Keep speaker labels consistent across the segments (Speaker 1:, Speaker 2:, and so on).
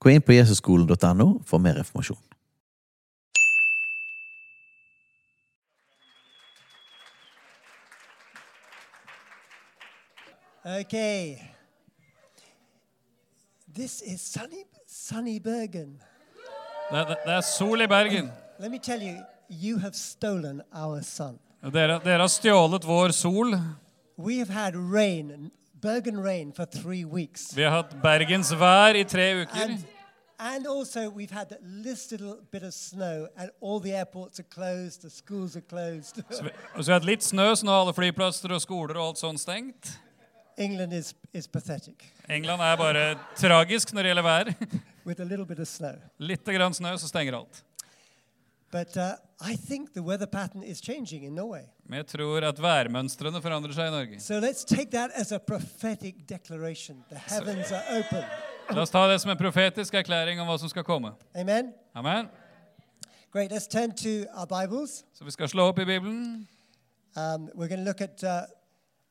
Speaker 1: Gå inn på jesusskolen.no for mer informasjon.
Speaker 2: Okay. This is sunny, sunny Bergen.
Speaker 3: Det, det, det er sol i Bergen.
Speaker 2: Let me tell you, you have stolen our sun.
Speaker 3: Dere, dere har stjålet vår sol.
Speaker 2: We have had rain, Bergen rain, for three weeks.
Speaker 3: Vi har hatt bergensvær i tre uker.
Speaker 2: And, and also, we've had this little bit of snow, and all the airports are closed, the schools are closed.
Speaker 3: Så vi, og så har vi hatt litt snø, så nå er alle flyplasser og skoler og alt sånt stengt.
Speaker 2: England is, is pathetic
Speaker 3: England er bare tragisk når det gjelder vær.
Speaker 2: with a little bit of snow.
Speaker 3: Litt grann snø, så stenger alt.
Speaker 2: But uh, I think the weather pattern is changing in Norway.
Speaker 3: Men jeg tror at værmønstrene forandrer seg i Norge.
Speaker 2: So let's take that as a prophetic declaration. The heavens are open.
Speaker 3: La oss ta det som en profetisk erklæring om hva som skal komme.
Speaker 2: Amen.
Speaker 3: Amen.
Speaker 2: Great. Let's turn to our Bibles.
Speaker 3: Så vi skal slå opp i Bibelen.
Speaker 2: Um, we're going to look at uh,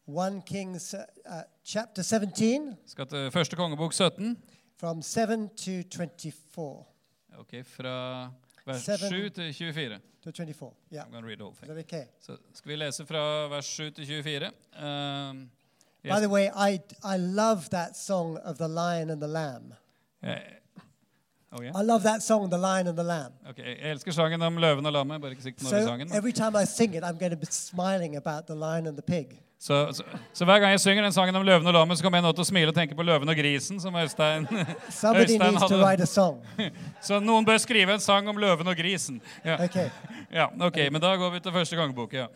Speaker 2: 1 Kings uh, uh, chapter 17
Speaker 3: Vi skal til første kongebok 17.
Speaker 2: from 7 to 24.
Speaker 3: Ok, Fra vers
Speaker 2: Seven.
Speaker 3: 7 til 24.
Speaker 2: To 24. Yeah.
Speaker 3: I'm gonna read the whole thing.
Speaker 2: Is that okay?
Speaker 3: Så skal vi lese fra vers 7 til 24. Eh,
Speaker 2: By
Speaker 3: jeg,
Speaker 2: the way, I, I love that song of the lion and the lamb.
Speaker 3: jeg, oh, yeah.
Speaker 2: I love that song, the lion and the lamb.
Speaker 3: Ok, jeg elsker sangen om løven og lammet. Bare ikke sikkert når det er
Speaker 2: So
Speaker 3: sangen.
Speaker 2: every time I sing it, I'm going to be smiling about the lion and the pig.
Speaker 3: Så, så, så hver gang jeg synger den sangen om løven og lammet, så kommer jeg nå til å smile og tenke på løven og grisen, som Øystein
Speaker 2: Somebody
Speaker 3: Øystein
Speaker 2: needs to
Speaker 3: hadde.
Speaker 2: write a song.
Speaker 3: Så noen bør skrive en sang om løven og grisen. Ja.
Speaker 2: Okay.
Speaker 3: Ja, ok, men da går vi til første gangebok, ja.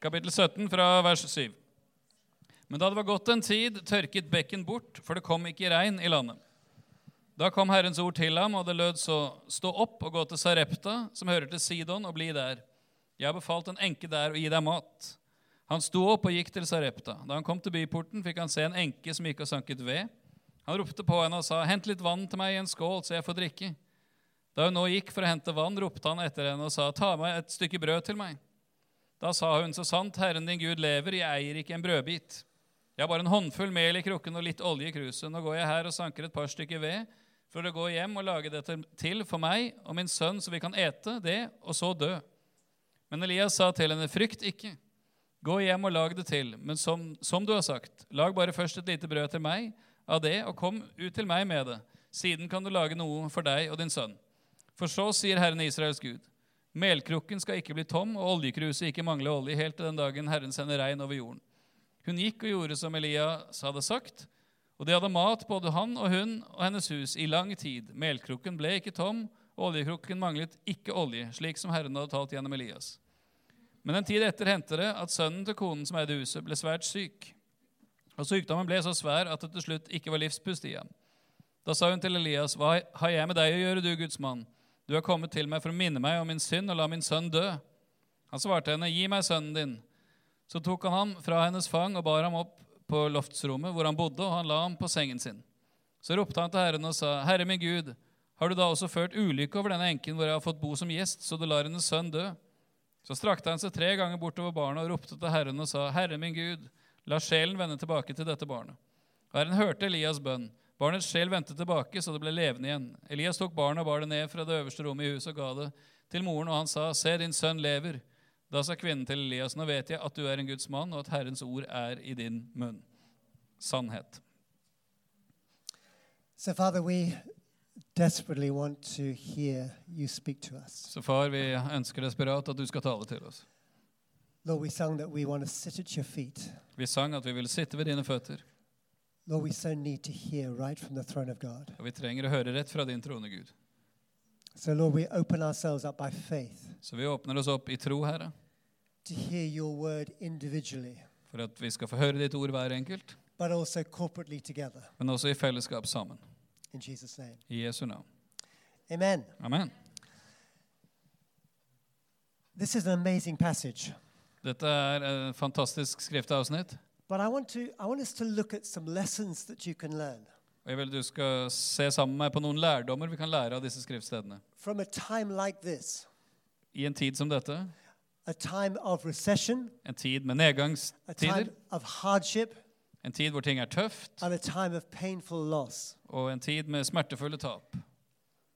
Speaker 3: Kapittel 17 fra vers 7. Men da det var gått en tid, tørket bekken bort, for det kom ikke regn i landet. Da kom Herrens ord til ham, og det lød så, stå opp og gå til Sarepta, som hører til Sidon, og bli der. Jeg har befalt en enke der å gi deg mat. Han sto opp og gikk til Sarepta. Da han kom til byporten, fikk han se en enke som gikk og sanket ved. Han ropte på henne og sa, hent litt vann til meg i en skål, så jeg får drikke. Da hun nå gikk for å hente vann, ropte han etter henne og sa, ta meg et stykke brød til meg. Da sa hun, så sant Herren din Gud lever, jeg eier ikke en brødbit. Jeg har bare en håndfull mel i krukken og litt olje i kruset. Nå går jeg her og sanker et par stykker ved for å gå hjem og lage dette til for meg og min sønn, så vi kan ete det og så dø. Men Elias sa til henne, frykt ikke. Gå hjem og lag det til, men som, som du har sagt, lag bare først et lite brød til meg av det, og kom ut til meg med det. Siden kan du lage noe for deg og din sønn. For så sier Herren Israels Gud, melkrukken skal ikke bli tom, og oljekruset ikke mangle olje helt til den dagen Herren sender regn over jorden. Hun gikk og gjorde som Elias hadde sagt, og de hadde mat, både han og hun og hennes hus, i lang tid. Melkrukken ble ikke tom, og oljekrukken manglet ikke olje, slik som Herren hadde talt gjennom Elias. Men en tid etter hendte det at sønnen til konen som eide huset, ble svært syk. Og sykdommen ble så svær at det til slutt ikke var livspust i ham. Da sa hun til Elias, hva har jeg med deg å gjøre, du Guds mann? Du er kommet til meg for å minne meg om min synd og la min sønn dø. Han svarte henne, gi meg sønnen din. Så tok han ham fra hennes fang og bar ham opp på loftsrommet hvor han bodde, og han la ham på sengen sin. Så ropte han til Herren og sa, Herre min Gud, har du da også ført ulykke over denne enken hvor jeg har fått bo som gjest, så du lar hennes sønn dø? Så strakte han seg tre ganger bortover barnet og ropte til Herren og sa, Herre min Gud, la sjelen vende tilbake til dette barnet. Og Herren hørte Elias' bønn. Barnets sjel vendte tilbake, så det ble levende igjen. Elias tok barnet og bar det ned fra det øverste rommet i huset og ga det til moren, og han sa, Se, din sønn lever. Da sa kvinnen til Elias, Nå vet jeg at du er en Guds mann, og at Herrens ord er i din munn. Sannhet.
Speaker 2: So, Father, we desperately want to hear you speak to us.
Speaker 3: Så far, vi ønsker desperat at du skal tale til oss.
Speaker 2: Lord, we sung that we want to sit at your feet.
Speaker 3: Vi sang at vi ville sitte ved dine føtter,
Speaker 2: Lord, we so need to hear right from the throne of God.
Speaker 3: og vi trenger å høre rett fra din trone, Gud.
Speaker 2: So, Lord, we open ourselves up by faith
Speaker 3: Så vi åpner oss opp i tro, Herre,
Speaker 2: to hear your word individually,
Speaker 3: for at vi skal få høre ditt ord hver enkelt,
Speaker 2: but also corporately together.
Speaker 3: men også i fellesskap sammen.
Speaker 2: in Jesus' name.
Speaker 3: I Jesu navn.
Speaker 2: Amen.
Speaker 3: Amen.
Speaker 2: This is an amazing passage,
Speaker 3: Dette er et fantastisk skriftavsnitt.
Speaker 2: but I want, to, I want us to look at some lessons that you can learn
Speaker 3: Og jeg vil du skal se sammen med meg på noen lærdommer vi kan lære av disse skriftstedene.
Speaker 2: from a time like this
Speaker 3: I en tid som dette,
Speaker 2: a time of recession,
Speaker 3: en tid med
Speaker 2: a time
Speaker 3: nedgangstider,
Speaker 2: of hardship,
Speaker 3: en tid hvor ting er tøft,
Speaker 2: and a time of painful loss.
Speaker 3: og en tid med smertefulle tap,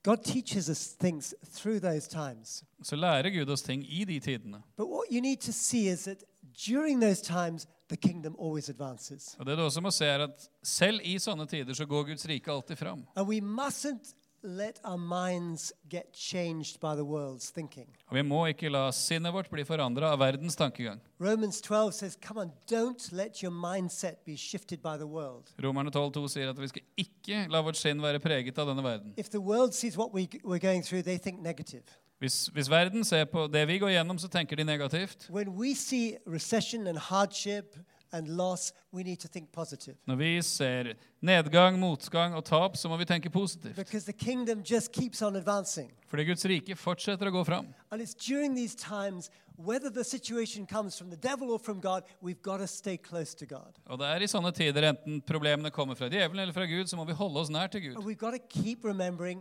Speaker 2: God teaches us things through those times.
Speaker 3: så lærer Gud oss ting i de tidene.
Speaker 2: But what you need to see is that during those times, the kingdom always advances.
Speaker 3: Og det du også må se, er at selv i sånne tider så går Guds rike alltid fram.
Speaker 2: And we mustn't let our minds get changed by the world's thinking.
Speaker 3: Og vi må ikke la sinnet vårt bli forandra av verdens tankegang.
Speaker 2: Romans 12 says, Come on, don't let your mindset be shifted by the world.
Speaker 3: Romerne 12,2 sier at vi skal ikke la vårt sinn være preget av denne verden.
Speaker 2: If the world sees what we, we're going through, they think negative.
Speaker 3: Hvis, hvis verden ser på det vi går gjennom, så tenker de negativt.
Speaker 2: When we see recession and hardship and loss, we need to think positive.
Speaker 3: Når vi ser nedgang, motgang og tap, så må vi tenke positivt.
Speaker 2: Because the kingdom just keeps on advancing.
Speaker 3: Fordi Guds rike fortsetter å gå fram.
Speaker 2: And it's during these times, whether the situation comes from the devil or from God, we've got to stay close to God.
Speaker 3: Og det er i sånne tider, enten problemene kommer fra djevelen eller fra Gud, så må vi holde oss nær til
Speaker 2: And
Speaker 3: Gud.
Speaker 2: we've got to keep remembering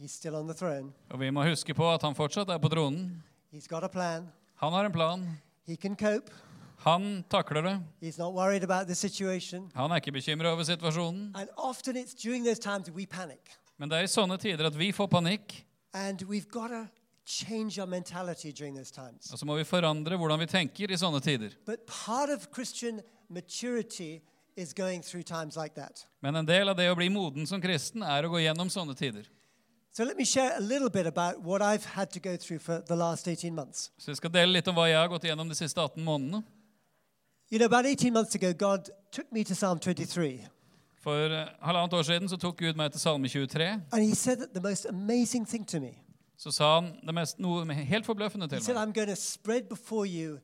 Speaker 2: He's still on the throne,
Speaker 3: Og vi må huske på at han fortsatt er på tronen.
Speaker 2: He's got a plan,
Speaker 3: Han har en plan.
Speaker 2: He can cope,
Speaker 3: Han takler det.
Speaker 2: He's not worried about the situation.
Speaker 3: Han er ikke bekymra over situasjonen.
Speaker 2: And often it's during those times we panic.
Speaker 3: Men det er i sånne tider at vi får panikk,
Speaker 2: And we've got to change our mentality during those times.
Speaker 3: og så må vi forandre hvordan vi tenker i sånne tider.
Speaker 2: But part of Christian maturity is going through times like that.
Speaker 3: Men en del av det å bli moden som kristen er å gå gjennom sånne tider.
Speaker 2: So let me share a little bit about what I've had to go through for the last 18 months.
Speaker 3: Så jeg skal dele litt om hva jeg har gått gjennom de siste 18 månedene.
Speaker 2: You know, about 18 months ago, God took me to Psalm 23,
Speaker 3: For eh, halvannet år siden så tok Gud meg til Salme 23.
Speaker 2: and He said that the most amazing thing to me.
Speaker 3: Så sa han det mest, noe helt forbløffende
Speaker 2: He
Speaker 3: til
Speaker 2: said,
Speaker 3: meg.
Speaker 2: I'm going to spread before you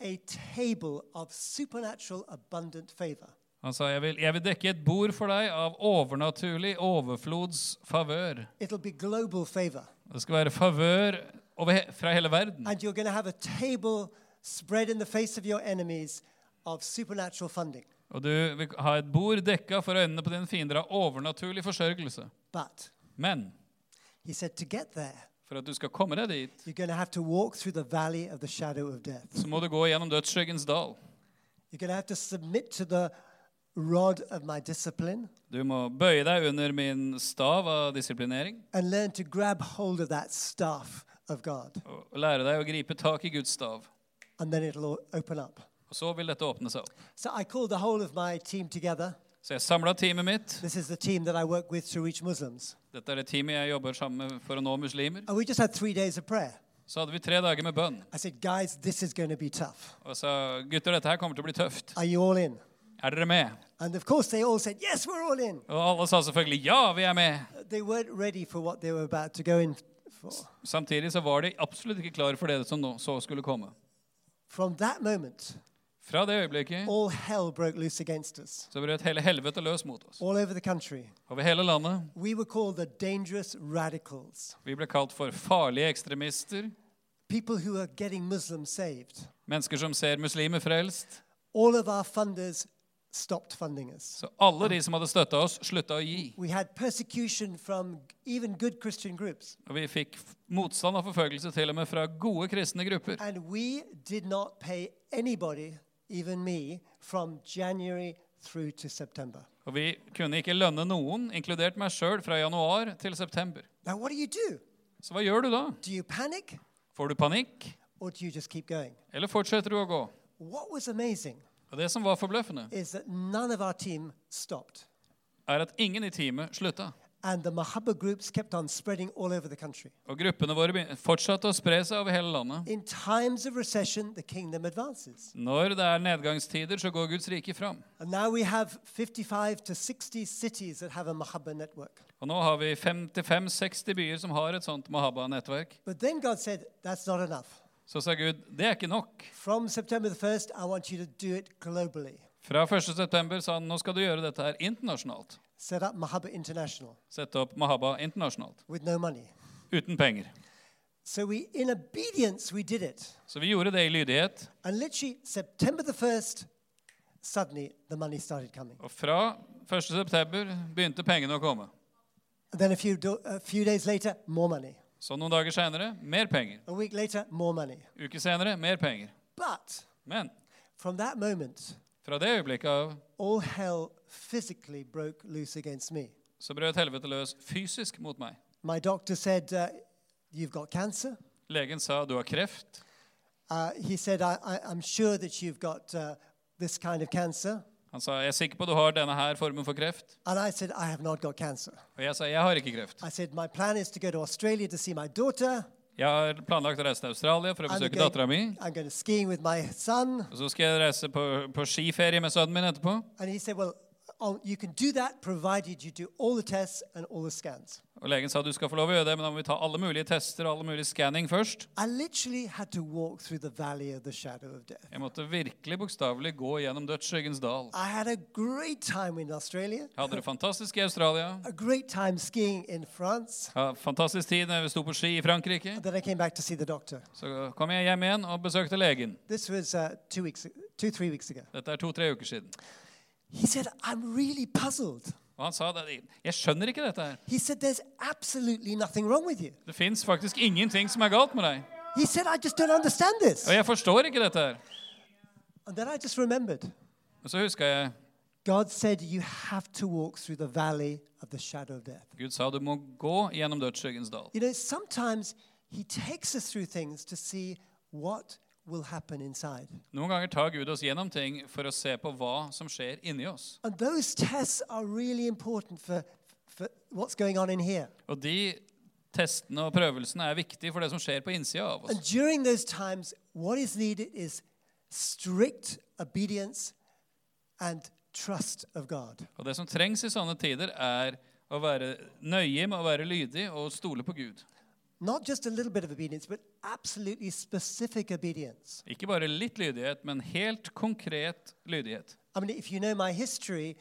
Speaker 2: a table of supernatural abundant favor.
Speaker 3: Han sa jeg vil, jeg vil dekke et bord for deg av overnaturlig overflods favør.
Speaker 2: It'll be global favor.
Speaker 3: Det skal være favør over he, fra hele verden.
Speaker 2: And you're going to have a table spread in the face of your enemies of supernatural funding.
Speaker 3: Og du vil ha et bord dekka for øynene på dine fiender av overnaturlig forsørgelse.
Speaker 2: But
Speaker 3: Men
Speaker 2: He said, to get there,
Speaker 3: for at du skal komme deg dit,
Speaker 2: you're going to have to walk through the valley of the shadow of death.
Speaker 3: så må du gå gjennom dødsskyggens dal.
Speaker 2: You're going to have to submit to the rod of my discipline
Speaker 3: Du må bøye deg under min stav av disiplinering
Speaker 2: and learn to grab hold of that staff of God.
Speaker 3: og lære deg å gripe tak i Guds stav.
Speaker 2: and then it'll all open up.
Speaker 3: Og så vil dette åpne seg opp.
Speaker 2: So I called the whole of my team together.
Speaker 3: Så jeg samla teamet mitt.
Speaker 2: This is the team that I work with to reach Muslims.
Speaker 3: Dette er det teamet jeg jobber sammen med for å nå muslimer.
Speaker 2: And we just had three days of prayer.
Speaker 3: Så hadde vi tre dager med bønn.
Speaker 2: I said, guys, this is going to be tough.
Speaker 3: Og jeg sa gutter, dette her kommer til å bli tøft.
Speaker 2: Are you all in?
Speaker 3: Er dere med?
Speaker 2: And of course, they all said, yes, we're all in.
Speaker 3: Og alle sa selvfølgelig ja, vi er med.
Speaker 2: They weren't ready for what they were about to go in for.
Speaker 3: Samtidig så var de absolutt ikke klare for det som nå så skulle komme.
Speaker 2: From that moment,
Speaker 3: Fra det øyeblikket
Speaker 2: all hell broke loose against us,
Speaker 3: så brøt hele helvete løs mot oss.
Speaker 2: all over the country.
Speaker 3: Over hele landet.
Speaker 2: We were called the dangerous radicals,
Speaker 3: Vi ble kalt for farlige ekstremister.
Speaker 2: people who are getting Muslims saved.
Speaker 3: Mennesker som ser muslimer frelst.
Speaker 2: All of our funders stopped funding us.
Speaker 3: Så alle de som hadde støtta oss, slutta å gi.
Speaker 2: We had persecution from even good Christian groups,
Speaker 3: Og vi fikk f- motstand og forfølgelse til og med fra gode kristne grupper.
Speaker 2: and we did not pay anybody, even me, from January through to September.
Speaker 3: Og vi kunne ikke lønne noen, inkludert meg sjøl, fra januar til september.
Speaker 2: Now, what do you do?
Speaker 3: Så hva gjør du da?
Speaker 2: Do you panic
Speaker 3: Får du panikk,
Speaker 2: or do you just keep going?
Speaker 3: eller fortsetter du å gå?
Speaker 2: What was amazing
Speaker 3: Og det som var forbløffende,
Speaker 2: is that none of our team stopped,
Speaker 3: er at ingen i teamet slutta.
Speaker 2: and the Mahaba groups kept on spreading all over the country.
Speaker 3: Og gruppene våre begyn- fortsatte å spre seg over hele landet.
Speaker 2: In times of recession, the kingdom advances.
Speaker 3: Når det er nedgangstider, så går Guds rike fram.
Speaker 2: And now we have 55 to 60 cities that have a Mahaba network.
Speaker 3: Og nå har vi 55-60 byer som har et sånt Mahaba-nettverk.
Speaker 2: But then God said, that's not enough.
Speaker 3: Så sa Gud, det er ikke nok.
Speaker 2: From September the 1st, I want you to do it globally.
Speaker 3: Fra 1.9. sa han nå skal du gjøre dette her internasjonalt.
Speaker 2: set up Mahaba International
Speaker 3: sette opp Mahaba internasjonalt.
Speaker 2: with no money.
Speaker 3: Uten penger.
Speaker 2: So we, in obedience, we did it.
Speaker 3: Så vi gjorde det i lydighet.
Speaker 2: And literally, September the 1st, suddenly the money started coming.
Speaker 3: Og fra 1.9. begynte pengene å komme.
Speaker 2: And then a few, do- a few days later, more money.
Speaker 3: Så noen dager seinere mer penger.
Speaker 2: A week later, more money.
Speaker 3: Uke senere mer penger.
Speaker 2: But
Speaker 3: Men
Speaker 2: from that moment,
Speaker 3: fra det øyeblikket av
Speaker 2: all hell physically broke loose against me.
Speaker 3: så brøt helvete løs fysisk mot meg.
Speaker 2: My doctor said, uh, You've got cancer.
Speaker 3: Legen sa du har kreft.
Speaker 2: Uh, he said, I, I, I'm sure that you've got uh, this kind of cancer.
Speaker 3: Han sa jeg er sikker på du har denne her formen for kreft.
Speaker 2: And I said, I have not got cancer.
Speaker 3: Og jeg sa jeg har ikke kreft.
Speaker 2: I said, My plan is to go to Australia to see my daughter.
Speaker 3: Jeg har planlagt å reise til Australia for å
Speaker 2: I'm
Speaker 3: besøke
Speaker 2: going-
Speaker 3: dattera mi.
Speaker 2: I'm going to skiing with my son.
Speaker 3: Og så skal jeg reise på, på skiferie med sønnen min etterpå.
Speaker 2: And he said, Well, oh, you can do that provided you do all the tests and all the scans.
Speaker 3: Og legen sa du skal få lov å gjøre det, men da må vi ta alle mulige tester og alle mulige skanning først.
Speaker 2: I literally had to walk through the valley of the shadow of death.
Speaker 3: Jeg måtte virkelig bokstavelig gå gjennom dødsskyggens dal.
Speaker 2: I had a great time in Australia,
Speaker 3: Jeg hadde det fantastisk i Australia.
Speaker 2: a great time skiing in France.
Speaker 3: Ja, fantastisk tid når vi sto på ski i Frankrike.
Speaker 2: And then I came back to see the doctor.
Speaker 3: Så kom jeg hjem igjen og besøkte legen.
Speaker 2: This was uh, two weeks, two, three weeks ago.
Speaker 3: Dette er to-tre uker siden.
Speaker 2: He said, I'm really puzzled.
Speaker 3: Og han sa det, jeg skjønner ikke dette her.
Speaker 2: He said, There's absolutely nothing wrong with you.
Speaker 3: Det fins faktisk ingenting som er galt med deg.
Speaker 2: He said, I just don't understand this.
Speaker 3: Og jeg forstår ikke dette her.
Speaker 2: And then I just remembered
Speaker 3: Og så huska jeg
Speaker 2: God said, You have to walk through the valley of the shadow of death.
Speaker 3: Gud sa du må gå gjennom dødsskyggens dal.
Speaker 2: You know, sometimes He takes us through things to see what will happen inside.
Speaker 3: Noen ganger tar Gud oss gjennom ting for å se på hva som skjer inni oss.
Speaker 2: And those tests are really important for, for what's going on in here.
Speaker 3: Og de testene og prøvelsene er viktige for det som skjer på innsida av
Speaker 2: And
Speaker 3: oss.
Speaker 2: during those times, what is needed is strict obedience and trust of God.
Speaker 3: Og det som trengs i sånne tider, er å være nøye med å være lydig og stole på Gud.
Speaker 2: Not just a little bit of obedience, but absolutely specific obedience.
Speaker 3: Ikke bare litt lydighet, men helt konkret lydighet.
Speaker 2: I mean, if you know my history,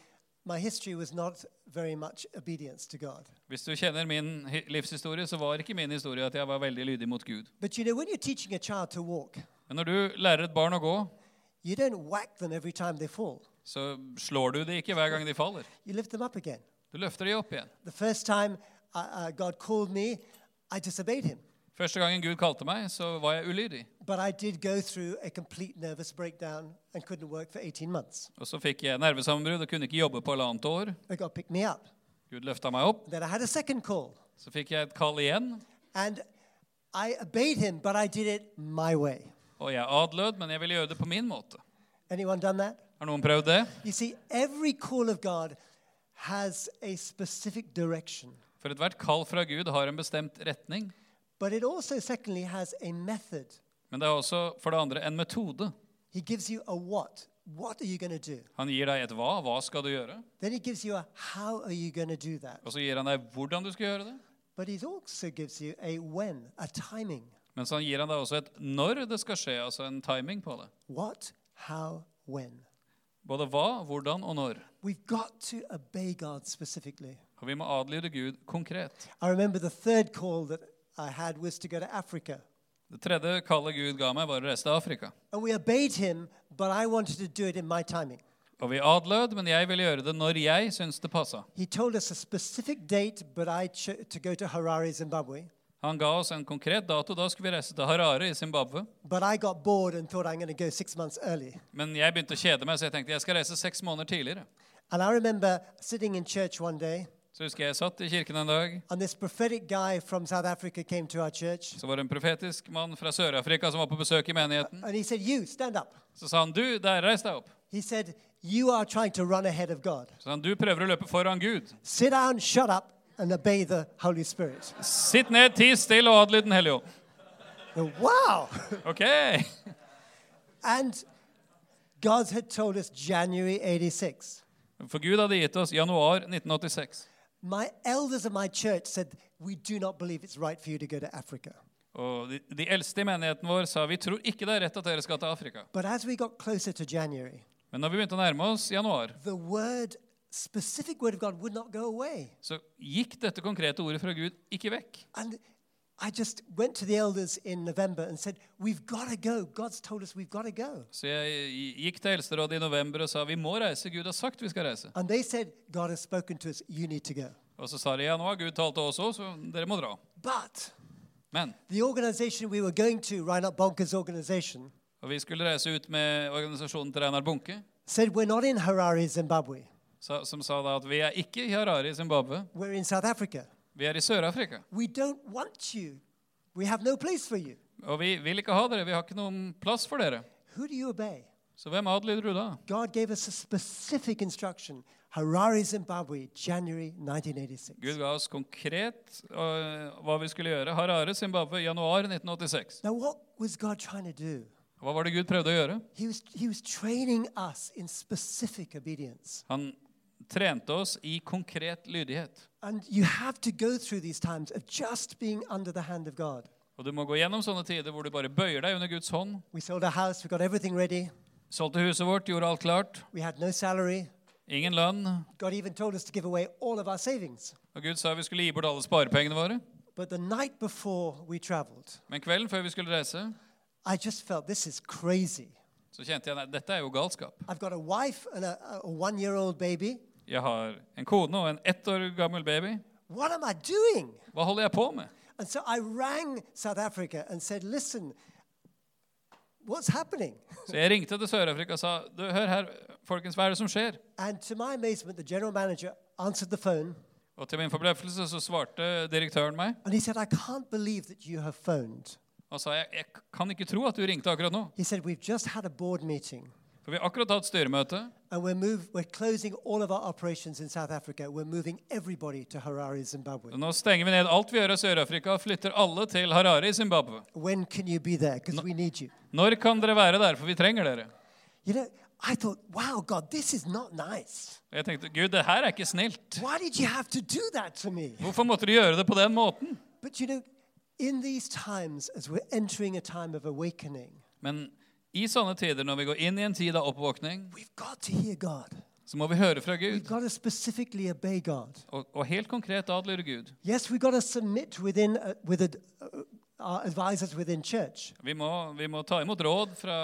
Speaker 2: my history was not very much obedience to God.
Speaker 3: Hvis du kjenner min hi- livshistorie, så var ikke min historie at jeg var veldig lydig mot Gud.
Speaker 2: But you know, when you're teaching a child to walk,
Speaker 3: Men når du lærer et barn å gå,
Speaker 2: you don't whack them every time they fall.
Speaker 3: så slår du de ikke hver gang de faller.
Speaker 2: You lift them up again.
Speaker 3: Du løfter de opp igjen.
Speaker 2: The first time uh, uh, God called me, I disobeyed him.
Speaker 3: Første gangen Gud kalte meg, så var jeg ulydig.
Speaker 2: But I did go through a complete nervous breakdown and couldn't work for 18 months.
Speaker 3: Og så fikk jeg nervesammenbrudd og kunne ikke jobbe på halvannet år.
Speaker 2: But God picked me up.
Speaker 3: Gud løfta meg opp.
Speaker 2: Then I had a second call.
Speaker 3: Så fikk jeg et kall igjen,
Speaker 2: And I obeyed him, but I did it my way.
Speaker 3: og jeg adlød, men jeg ville gjøre det på min måte.
Speaker 2: Anyone done that?
Speaker 3: Har noen prøvd det?
Speaker 2: You see, every call of God has a specific direction,
Speaker 3: For ethvert kall fra Gud har en bestemt retning.
Speaker 2: but it also, secondly, has a method.
Speaker 3: Men det er også, for det andre, en metode.
Speaker 2: He gives you a what. What are you going to do?
Speaker 3: Han gir deg et hva. Hva skal du gjøre?
Speaker 2: Then he gives you a how are you going to do that.
Speaker 3: Og så gir han deg hvordan du skal gjøre det.
Speaker 2: But he also gives you a when, a timing.
Speaker 3: Men så gir han deg også et når det skal skje, altså en timing på det.
Speaker 2: What, how, when.
Speaker 3: Både hva, hvordan og når.
Speaker 2: We've got to obey God specifically.
Speaker 3: Og vi må adlyde Gud konkret.
Speaker 2: I remember the third call that I had was to go to Africa.
Speaker 3: Det tredje kallet Gud ga meg, var å reise til Afrika.
Speaker 2: And we obeyed him, but I wanted to do it in my timing.
Speaker 3: Og vi adlød, men jeg ville gjøre det når jeg syntes det passa.
Speaker 2: He told us a specific date, but I cho- to go to Harare, Zimbabwe.
Speaker 3: Han ga oss en konkret dato. Da skulle vi reise til Harare i Zimbabwe.
Speaker 2: But I got bored and thought I'm going to go six months early.
Speaker 3: Men jeg begynte å kjede meg, så jeg tenkte jeg skal reise seks måneder tidligere.
Speaker 2: And I remember sitting in church one day,
Speaker 3: Så husker jeg jeg satt i kirken en dag.
Speaker 2: and this prophetic guy from South Africa came to our church,
Speaker 3: Så var det en profetisk mann fra Sør-Afrika som var på besøk i menigheten.
Speaker 2: and he said, "You stand up."
Speaker 3: Så sa han, du, der, reis deg opp.
Speaker 2: He said, "You are trying to run ahead of God.
Speaker 3: Så sa han, Sånn, du prøver å løpe foran Gud.
Speaker 2: Sit down, shut up, and obey the Holy Spirit."
Speaker 3: Sitt ned, ti stille og adlyd Den hellige ånd.
Speaker 2: Wow!
Speaker 3: Ok.
Speaker 2: And God had told us January 86.
Speaker 3: For Gud hadde gitt oss januar 1986.
Speaker 2: My elders of my church said, We do not believe it's right for you to go to Africa.
Speaker 3: Og de, de eldste i menigheten vår sa, vi tror ikke det er rett at dere skal til Afrika.
Speaker 2: But as we got closer to January,
Speaker 3: Men når vi begynte å nærme oss januar,
Speaker 2: the word specific word of God would not go away.
Speaker 3: så gikk dette konkrete ordet fra Gud ikke vekk.
Speaker 2: And I just went to the elders in November and said, We've got to go. God's told us we've got to go.
Speaker 3: Så jeg gikk til Eldsterådet i november og sa vi må reise. Gud har sagt vi skal reise.
Speaker 2: And they said, God has spoken to us. You need to go.
Speaker 3: Og så sa de ja, nå har Gud talt til oss òg, så dere må dra.
Speaker 2: But
Speaker 3: Men
Speaker 2: the organization we were going to, Reinhard Bonker's organization,
Speaker 3: og vi skulle reise ut med organisasjonen til Reinar Bunke,
Speaker 2: said, We're not in Harare, Zimbabwe.
Speaker 3: sa, som sa da at vi er ikke i Harare i Zimbabwe,
Speaker 2: We're in South Africa.
Speaker 3: vi er i Sør-Afrika.
Speaker 2: We don't want you. We have no place for you.
Speaker 3: Og vi vil ikke ha dere, vi har ikke noen plass for dere.
Speaker 2: Who do you obey?
Speaker 3: Så hvem adlyder du da?
Speaker 2: God gave us a specific instruction Harare, Zimbabwe, January 1986.
Speaker 3: Gud ga oss konkret øh, hva vi skulle gjøre. Harare, Zimbabwe, januar 1986.
Speaker 2: Now, what was God trying to do?
Speaker 3: Hva var det Gud prøvde å gjøre?
Speaker 2: He was, he was training us in specific obedience.
Speaker 3: Han trente oss i konkret lydighet.
Speaker 2: And you have to go through these times of just being under the hand of God.
Speaker 3: Og du må gå gjennom sånne tider hvor du bare bøyer deg under Guds hånd.
Speaker 2: We sold our house, we got everything ready,
Speaker 3: Solgte huset vårt, gjorde alt klart.
Speaker 2: we had no salary.
Speaker 3: Ingen lønn.
Speaker 2: God even told us to give away all of our savings.
Speaker 3: Og Gud sa vi skulle gi bort alle sparepengene våre.
Speaker 2: But the night before we traveled,
Speaker 3: Men kvelden før vi skulle reise,
Speaker 2: I just felt this is crazy.
Speaker 3: så kjente jeg at dette er jo galskap.
Speaker 2: I've got a wife and a, a one year old baby.
Speaker 3: Jeg har en kone og en ett år gammel baby.
Speaker 2: What am I doing?
Speaker 3: Hva holder jeg på med?
Speaker 2: And so I rang South Africa and said, listen, what's happening?
Speaker 3: Så jeg ringte til Sør-Afrika og sa du, hør her, folkens, hva er det som skjer?
Speaker 2: And to my amazement, the general manager answered the phone
Speaker 3: Og til min forbløffelse så svarte direktøren meg
Speaker 2: and he said, I can't believe that you have phoned.
Speaker 3: og sa jeg, jeg kan ikke tro at du ringte akkurat nå.
Speaker 2: He said, We've just had a board meeting
Speaker 3: For vi har akkurat hatt styremøte,
Speaker 2: and we're, move, we're closing all of our operations in South Africa. We're moving everybody to Harare, Zimbabwe.
Speaker 3: og nå stenger vi ned alt vi gjør i Sør-Afrika og flytter alle til Harare i Zimbabwe.
Speaker 2: When can you be there? Because we need you.
Speaker 3: Når kan dere være der? For vi trenger dere.
Speaker 2: You know, I thought, wow, God, this is not nice.
Speaker 3: Og jeg tenkte gud, det her er ikke snilt.
Speaker 2: Why did you have to do that to me?
Speaker 3: Hvorfor måtte du gjøre det på den måten?
Speaker 2: But you know, in these times, as we're entering a time of awakening,
Speaker 3: Men i sånne tider, når vi går inn i en tid av oppvåkning,
Speaker 2: we've got to hear God.
Speaker 3: så må vi høre fra
Speaker 2: We've
Speaker 3: Gud.
Speaker 2: got to specifically obey God.
Speaker 3: Og, og helt konkret adlyde Gud.
Speaker 2: Yes, we've got to submit within, uh, with ad- uh, our advisors within church.
Speaker 3: Vi må, vi må ta imot råd fra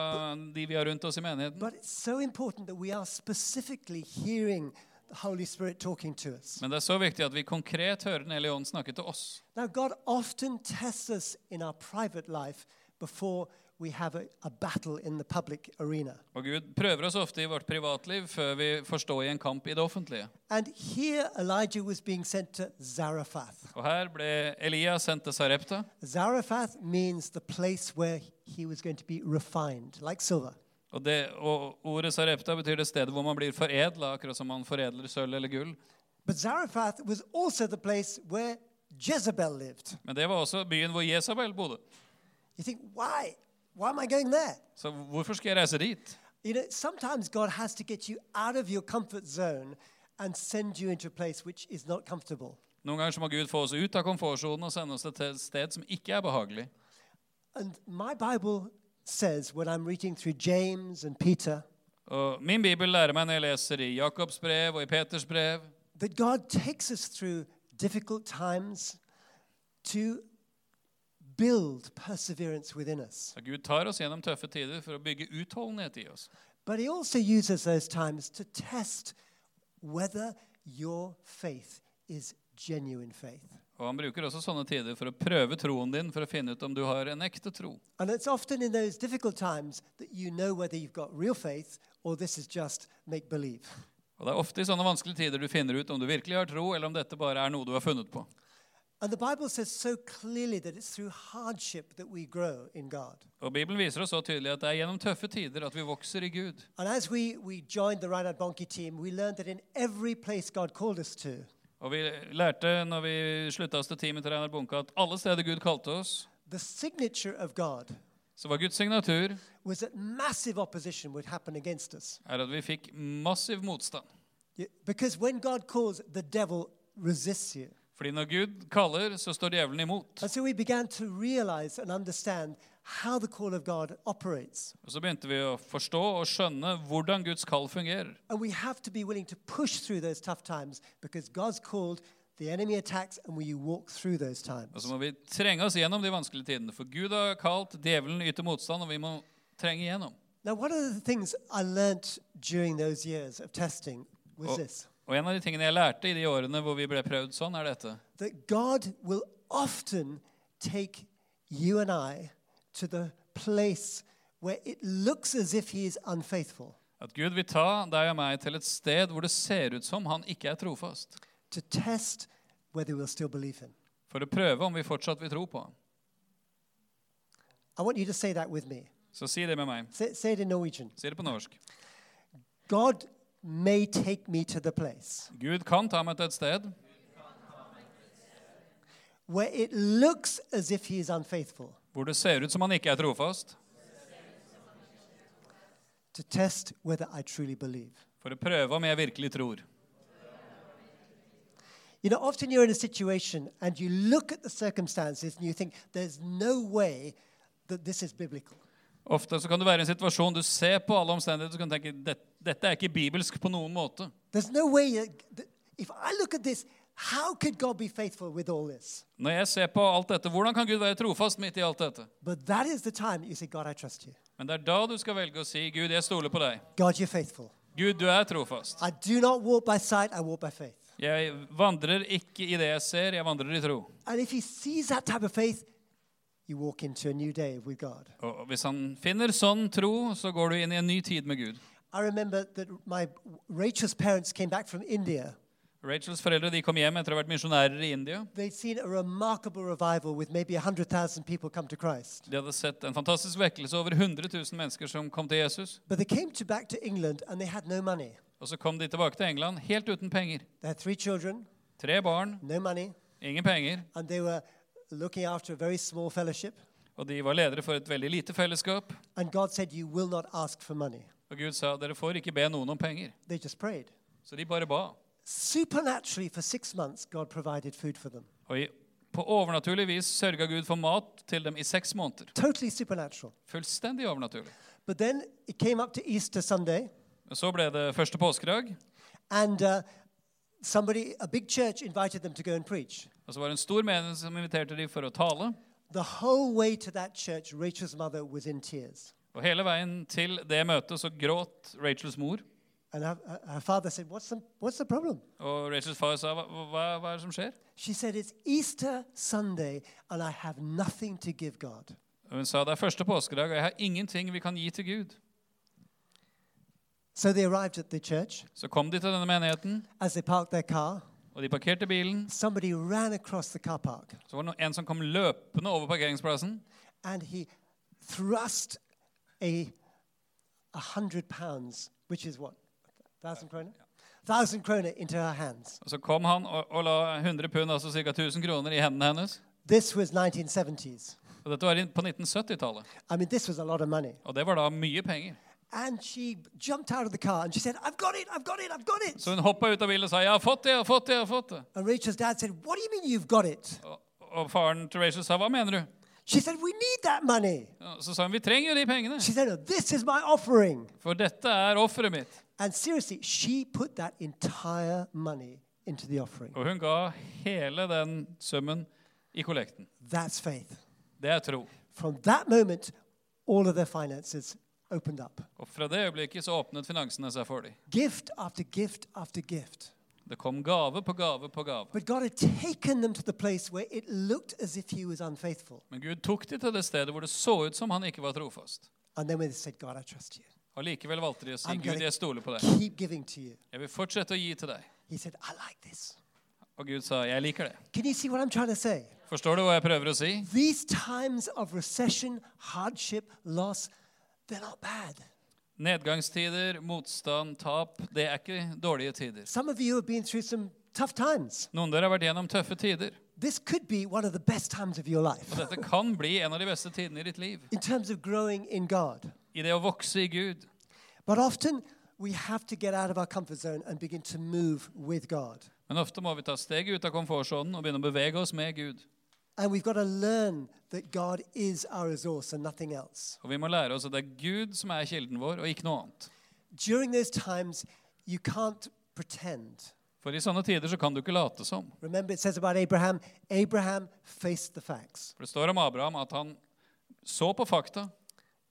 Speaker 3: de vi har rundt oss i menigheten.
Speaker 2: But it's so important that we are specifically hearing the Holy Spirit talking to us.
Speaker 3: Men det er så viktig at vi konkret hører Den hellige ånd snakke til oss.
Speaker 2: Now, God often tests us in our private life before we have a, a battle in the public arena.
Speaker 3: Og Gud prøver oss ofte i vårt privatliv før vi får stå i en kamp i det offentlige.
Speaker 2: And here Elijah was being sent to Zarephath.
Speaker 3: Og her ble Elias sendt til Sarepta.
Speaker 2: Zarephath means the place where he was going to be refined, like silver.
Speaker 3: Og, det, og ordet Sarepta betyr det stedet hvor man blir foredla, akkurat som man foredler sølv eller gull.
Speaker 2: But Zarephath was also the place where Jezebel lived.
Speaker 3: Men det var også byen hvor Jesabel bodde.
Speaker 2: You think, why? Why am I going there?
Speaker 3: Så hvorfor skal jeg reise dit?
Speaker 2: You know, sometimes God has to get you out of your comfort zone and send you into a place which is not comfortable.
Speaker 3: Noen ganger så må Gud få oss ut av komfortsonen og sende oss til et sted som ikke er behagelig.
Speaker 2: And my Bible says, when I'm reading through James and Peter,
Speaker 3: Og min bibel lærer meg når jeg leser i Jakobs brev og i Peters brev
Speaker 2: that God takes us through difficult times to build perseverance within us.
Speaker 3: at Gud tar oss gjennom tøffe tider for å bygge utholdenhet i oss.
Speaker 2: But He also uses those times to test whether your faith is genuine faith.
Speaker 3: Og Han bruker også sånne tider for å prøve troen din for å finne ut om du har en ekte tro.
Speaker 2: And it's often in those difficult times that you know whether you've got real faith or this is just make believe.
Speaker 3: Og Det er ofte i sånne vanskelige tider du finner ut om du virkelig har tro, eller om dette bare er noe du har funnet på.
Speaker 2: And the Bible says so clearly that it's through hardship that we grow in God.
Speaker 3: Og Bibelen viser oss så tydelig at det er gjennom tøffe tider at vi vokser i Gud.
Speaker 2: And as we, we joined the Reinhard Bonnke team, we learned that in every place God called us to,
Speaker 3: Og vi lærte når vi slutta oss til teamet til Reinar Bunke, at alle steder Gud kalte oss,
Speaker 2: the signature of God
Speaker 3: så var Guds signatur
Speaker 2: was that massive opposition would happen against us.
Speaker 3: er at vi fikk massiv motstand.
Speaker 2: Y- Because when God calls, the devil resists you.
Speaker 3: Fordi når Gud kaller, så står djevelen imot.
Speaker 2: And so we began to realize and understand how the call of God operates.
Speaker 3: Og Så begynte vi å forstå og skjønne hvordan Guds kall fungerer.
Speaker 2: And we have to be willing to push through those tough times because God's called, the enemy attacks, and we walk through those
Speaker 3: Og
Speaker 2: times.
Speaker 3: så må vi trenge oss gjennom de vanskelige tidene. For Gud har kalt, djevelen yter motstand, og vi må trenge igjennom.
Speaker 2: Now, one of the things I learnt during those years of testing was
Speaker 3: Og,
Speaker 2: this
Speaker 3: og en av de tingene jeg lærte i de årene hvor vi ble prøvd sånn, er dette.
Speaker 2: that God will often take you and I to the place where it looks as if He is unfaithful
Speaker 3: At Gud vil ta deg og meg til et sted hvor det ser ut som han ikke er trofast.
Speaker 2: to test whether we'll still believe Him.
Speaker 3: For å prøve om vi fortsatt vil tro på ham.
Speaker 2: I want you to say that with me.
Speaker 3: Så si det med meg.
Speaker 2: Say, say it in Norwegian.
Speaker 3: Si det på norsk.
Speaker 2: God may take me to the place
Speaker 3: Gud kan ta meg til et sted
Speaker 2: where it looks as if he is unfaithful
Speaker 3: hvor det ser ut som han ikke er trofast,
Speaker 2: to test whether I truly believe.
Speaker 3: for å prøve om jeg virkelig tror.
Speaker 2: You know, often you're in a situation and you look at the circumstances and you think, there's no way that this is biblical.
Speaker 3: Ofte så kan det være en situasjon du ser på alle omstendigheter og kan du tenke "Det- dette er ikke bibelsk på noen måte.
Speaker 2: There's no way, that, that- if I look at this, how could God be faithful with all this?
Speaker 3: Når jeg ser på alt dette, hvordan kan Gud være trofast midt i alt dette?
Speaker 2: But that is the time you say, God, I trust you.
Speaker 3: Men det er da du skal velge å si, Gud, jeg stoler på deg.
Speaker 2: God, you're faithful.
Speaker 3: Gud, du er trofast.
Speaker 2: I do not walk by sight, I walk by faith.
Speaker 3: Jeg vandrer ikke i det jeg ser, jeg vandrer i tro.
Speaker 2: And if he sees that type of faith, you walk into a new day with God.
Speaker 3: Og hvis han finner sånn tro, så går du inn i en ny tid med Gud.
Speaker 2: I remember that my Rachel's parents came back from India.
Speaker 3: Rachels foreldre de kom hjem etter å ha vært misjonærer i India.
Speaker 2: They'd seen a remarkable revival with maybe 100,000 people come to Christ.
Speaker 3: De hadde sett en fantastisk vekkelse, over 100 000 mennesker som kom til Jesus.
Speaker 2: But they came to back to England and they had no money.
Speaker 3: Og så kom de tilbake til England helt uten penger.
Speaker 2: They had three children,
Speaker 3: Tre barn,
Speaker 2: no money,
Speaker 3: ingen penger,
Speaker 2: and they were looking after a very small fellowship.
Speaker 3: og de var ledere for et veldig lite fellesskap.
Speaker 2: And God said, You will not ask for money.
Speaker 3: Og Gud sa dere får ikke be noen om penger.
Speaker 2: They just prayed.
Speaker 3: Så de bare ba.
Speaker 2: Supernaturally, for six months, God provided food for them.
Speaker 3: Og i, på overnaturlig vis sørga Gud for mat til dem i seks måneder.
Speaker 2: Totally supernatural.
Speaker 3: Fullstendig overnaturlig.
Speaker 2: But then it came up to Easter Sunday,
Speaker 3: Og så ble det første påskedag,
Speaker 2: and uh, somebody, a big church, invited them to go and preach.
Speaker 3: og så var det en stor menighet som inviterte dem for å tale.
Speaker 2: The whole way to that church, Rachel's mother was in tears.
Speaker 3: Og hele veien til det møtet så gråt Rachels mor.
Speaker 2: And her, her- her father said, what's the, what's the problem?
Speaker 3: Og Rachels far sa hva, hva, hva er det som skjer?
Speaker 2: She said, It's Easter Sunday, and I have nothing to give God.
Speaker 3: Og hun sa det er første påskedag, og jeg har ingenting vi kan gi til Gud.
Speaker 2: So they arrived at the church.
Speaker 3: Så kom de til denne menigheten,
Speaker 2: As they parked their car,
Speaker 3: og de parkerte bilen.
Speaker 2: somebody ran across the car park
Speaker 3: Så var det no- en som kom løpende over parkeringsplassen,
Speaker 2: and he thrust a, a hundred pounds, which is what? Thousand kroner? Thousand kroner into her hands.
Speaker 3: og så kom han og, og la 100 pund, altså ca. 1000 kroner, i hendene hennes.
Speaker 2: This was 1970s.
Speaker 3: Og dette var inn- på 1970-tallet,
Speaker 2: I mean, this was a lot of money.
Speaker 3: og det var da mye penger.
Speaker 2: And she jumped out of the car and she said, I've got it, I've got it, I've got it.
Speaker 3: Så hun hoppa ut av bilen og sa 'Jeg har fått det, jeg har fått det'. jeg har fått det.
Speaker 2: And Rachel's dad said, What do you mean you've got it?
Speaker 3: Og, og faren til Rachel sa 'Hva mener du?'
Speaker 2: She said, We need that money.
Speaker 3: Og Så sa hun 'Vi trenger jo de pengene,
Speaker 2: She said, "No, This is my offering.
Speaker 3: for dette er offeret mitt'.
Speaker 2: And seriously, she put that entire money into the offering.
Speaker 3: Og hun ga hele den summen i kollekten.
Speaker 2: That's faith.
Speaker 3: Det er tro.
Speaker 2: From that moment, all of their finances opened up.
Speaker 3: Og fra det øyeblikket så åpnet finansene seg for dem.
Speaker 2: Gift after gift after gift.
Speaker 3: Det kom gave på gave på gave.
Speaker 2: But God had taken them to the place where it looked as if He was unfaithful.
Speaker 3: Men Gud tok de til det stedet hvor det så ut som han ikke var trofast.
Speaker 2: And then when they said, God, I trust you,
Speaker 3: Allikevel valgte de å si
Speaker 2: I'm
Speaker 3: Gud,
Speaker 2: gonna-
Speaker 3: jeg stoler på deg.
Speaker 2: keep giving to you,
Speaker 3: Jeg vil fortsette å gi til deg.
Speaker 2: He said, I like this.
Speaker 3: Og Gud sa, jeg liker det.
Speaker 2: Can you see what I'm trying to say?
Speaker 3: Forstår du hva jeg prøver å si?
Speaker 2: These times of recession, hardship, loss, they're not bad.
Speaker 3: Nedgangstider, motstand, tap, det er ikke dårlige tider.
Speaker 2: Some of you have been through some tough times.
Speaker 3: Noen av dere har vært gjennom tøffe tider.
Speaker 2: This could be one of the best times of your
Speaker 3: Og
Speaker 2: life
Speaker 3: dette kan bli en av de beste tidene i ditt liv.
Speaker 2: in terms of growing in God.
Speaker 3: I det å vokse i Gud.
Speaker 2: But often we have to get out of our comfort zone and begin to move with God.
Speaker 3: Men ofte må vi ta steget ut av komfortsonen og begynne å bevege oss med Gud.
Speaker 2: And we've got to learn that God is our resource and nothing else.
Speaker 3: Og vi må lære oss at det er Gud som er kilden vår, og ikke noe annet.
Speaker 2: During those times, you can't pretend.
Speaker 3: For i sånne tider så kan du ikke late som.
Speaker 2: Remember, it says about Abraham Abraham faced the facts.
Speaker 3: For det står om Abraham at han så på fakta.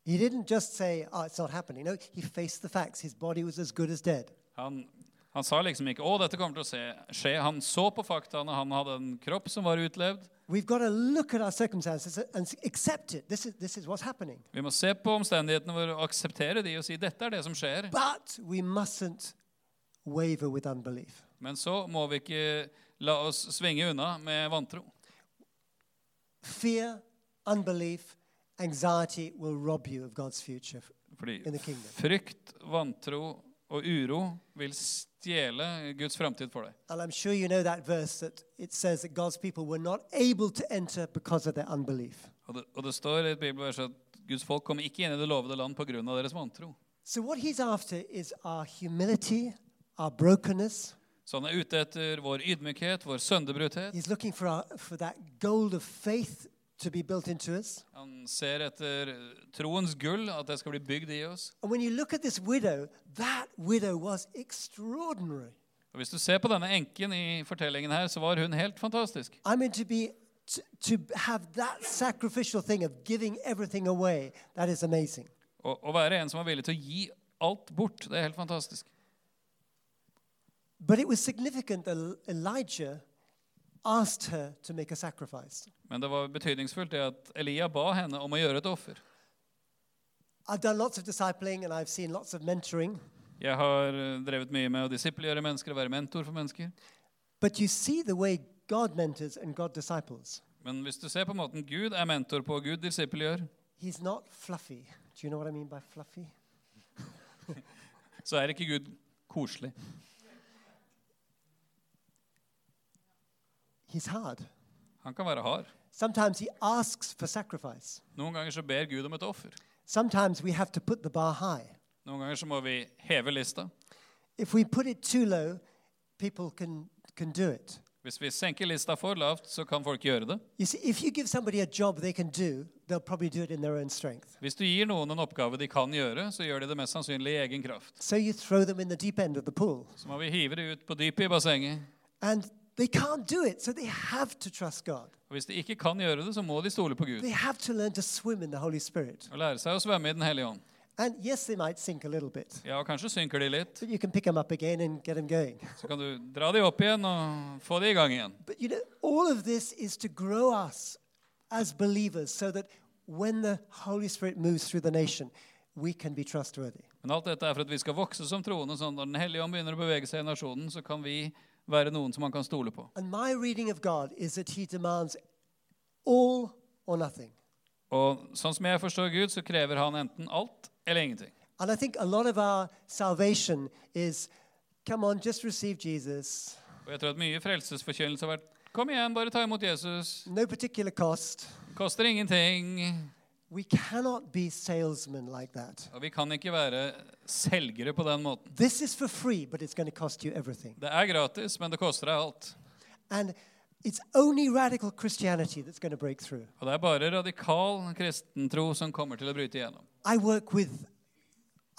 Speaker 2: He didn't just say, Oh, it's not happening. No, he faced the facts. His body was as good as dead.
Speaker 3: Han, han sa liksom ikke 'Å, dette kommer til å se- skje'. Han så på faktaene. Han hadde en kropp som var utlevd.
Speaker 2: We've got to look at our circumstances and accept it. This is, this is what's happening.
Speaker 3: Vi må se på omstendighetene våre og akseptere de og si 'dette er det som skjer'.
Speaker 2: But we mustn't waver with unbelief.
Speaker 3: Men så må vi ikke la oss svinge unna med vantro.
Speaker 2: Fear, unbelief, anxiety will rob you of God's future.
Speaker 3: Fordi
Speaker 2: In the kingdom.
Speaker 3: frykt, vantro og uro vil stjele Guds framtid for deg.
Speaker 2: And I'm sure you know that verse that it says that God's people were not able to enter because of their unbelief.
Speaker 3: Og det, og det står i et bibelvers at Guds folk kommer ikke inn i det lovede land pga. deres vantro.
Speaker 2: So, what he's after is our humility, our brokenness.
Speaker 3: Så han er ute etter vår ydmykhet, vår sønderbruthet.
Speaker 2: He's looking for, our, for that gold of faith to be built into us.
Speaker 3: Han ser etter troens gull, at det skal bli bygd i oss.
Speaker 2: And when you look at this widow, that widow was extraordinary.
Speaker 3: Og Hvis du ser på denne enken i fortellingen her, så var hun helt fantastisk.
Speaker 2: I mean, to be. To, to have that sacrificial thing of giving everything away, that is amazing.
Speaker 3: Å å være en som var villig til å gi alt bort, det er helt fantastisk.
Speaker 2: But it was significant that El- Elijah asked her to make a sacrifice.
Speaker 3: Men det var betydningsfullt det at Elia ba henne om å gjøre et offer.
Speaker 2: I've done lots of discipling and I've seen lots of mentoring,
Speaker 3: Jeg har eh, drevet mye med å disiplinere mennesker og være mentor for mennesker.
Speaker 2: but you see the way God mentors and God disciples.
Speaker 3: Men hvis du ser på måten Gud er mentor på, og Gud disippelgjør,
Speaker 2: He's not fluffy. Do you know what I mean by fluffy?
Speaker 3: så er ikke Gud koselig.
Speaker 2: He's hard.
Speaker 3: Han kan være hard.
Speaker 2: Sometimes he asks for sacrifice.
Speaker 3: Noen ganger så ber Gud om et offer.
Speaker 2: Sometimes we have to put the bar high.
Speaker 3: Noen ganger så må vi heve lista.
Speaker 2: If we put it too low, people can, can do it.
Speaker 3: Hvis vi senker lista for lavt, så kan folk gjøre det.
Speaker 2: You see, if you give somebody a job they can do, they'll probably do it in their own strength.
Speaker 3: Hvis du gir noen en oppgave de kan gjøre, så gjør de det mest sannsynlig i egen kraft.
Speaker 2: So you throw them in the deep end of the pool.
Speaker 3: Så må vi hive det ut på dypet i bassenget.
Speaker 2: And they can't do it, so they have to trust God.
Speaker 3: Og hvis de ikke kan gjøre det, så må de stole på Gud
Speaker 2: They have to learn to swim in the Holy Spirit.
Speaker 3: og lære seg å svømme i Den hellige ånd.
Speaker 2: And yes, they might sink a little bit,
Speaker 3: Ja, og kanskje synker de litt.
Speaker 2: but you can pick them up again and get them going.
Speaker 3: Så kan du dra de opp igjen og få de i gang igjen.
Speaker 2: But you know, all of this is to grow us as believers so that when the Holy Spirit moves through the nation, we can be trustworthy.
Speaker 3: Men alt dette er for at vi skal vokse som troende, sånn at når Den hellige ånd begynner å bevege seg i nasjonen, så kan vi være noen som man kan stole på.
Speaker 2: And my reading of God is that He demands all or nothing.
Speaker 3: Og sånn som jeg forstår Gud, så krever han enten alt eller ingenting.
Speaker 2: And I think a lot of our salvation is come on, just receive Jesus,
Speaker 3: Og jeg tror at mye frelsesforkynnelse har vært Kom igjen, bare ta imot Jesus.
Speaker 2: no particular cost.
Speaker 3: Koster ingenting.
Speaker 2: We cannot be salesmen like that.
Speaker 3: Og vi kan ikke være selgere på den måten.
Speaker 2: This is for free, but it's going to cost you everything.
Speaker 3: Det er gratis, men det koster deg alt.
Speaker 2: And it's only radical Christianity that's going to break through.
Speaker 3: Og det er bare radikal kristentro som kommer til å bryte igjennom.
Speaker 2: I work with,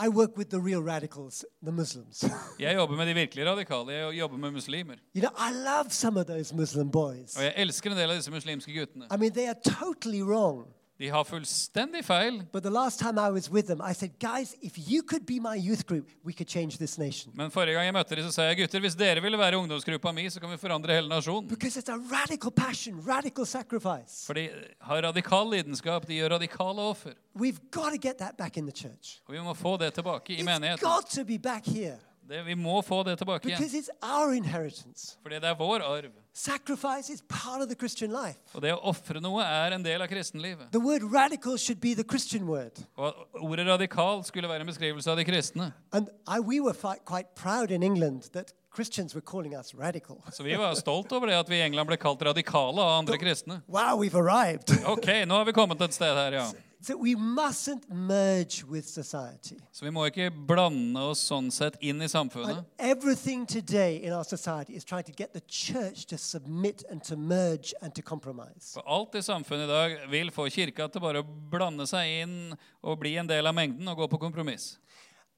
Speaker 2: I work with the real radicals, the Muslims.
Speaker 3: Jeg jobber med de virkelig radikale. Jeg jobber med muslimer.
Speaker 2: you know, I love some of those Muslim boys.
Speaker 3: Og jeg elsker en del av disse muslimske guttene.
Speaker 2: I mean, they are totally wrong.
Speaker 3: De har fullstendig feil,
Speaker 2: But the last time I was with them, I said, guys, if you could be my youth group, we could change this nation.
Speaker 3: men forrige gang jeg møtte dem, så sa jeg gutter, hvis dere ville være ungdomsgruppa mi, så kan vi forandre hele nasjonen.
Speaker 2: Because it's a radical passion, radical sacrifice.
Speaker 3: For de har radikal lidenskap, de gjør radikale offer.
Speaker 2: We've got to get that back in the church.
Speaker 3: Og vi må få det tilbake i
Speaker 2: It's
Speaker 3: menigheten.
Speaker 2: got to be back here
Speaker 3: Det, vi må få det tilbake igjen.
Speaker 2: because it's our inheritance.
Speaker 3: Fordi det er vår arv.
Speaker 2: Sacrifice is part of the Christian life.
Speaker 3: Og det å ofre noe er en del av kristenlivet.
Speaker 2: The word radical should be the Christian word.
Speaker 3: Og ordet radikal skulle være en beskrivelse av de kristne.
Speaker 2: And I, we were fi- quite proud in England that Christians were calling us radical.
Speaker 3: Så vi var stolt over det at vi i England ble kalt radikale av andre kristne.
Speaker 2: Wow, we've arrived.
Speaker 3: Ok, nå har vi kommet et sted her, ja.
Speaker 2: So we mustn't merge with society.
Speaker 3: Så vi må ikke blande oss sånn sett inn i
Speaker 2: And
Speaker 3: samfunnet.
Speaker 2: everything today in our society is trying to get the church to submit and to merge and to compromise.
Speaker 3: For alt i samfunnet i dag vil få kirka til bare å blande seg inn og bli en del av mengden og gå på kompromiss.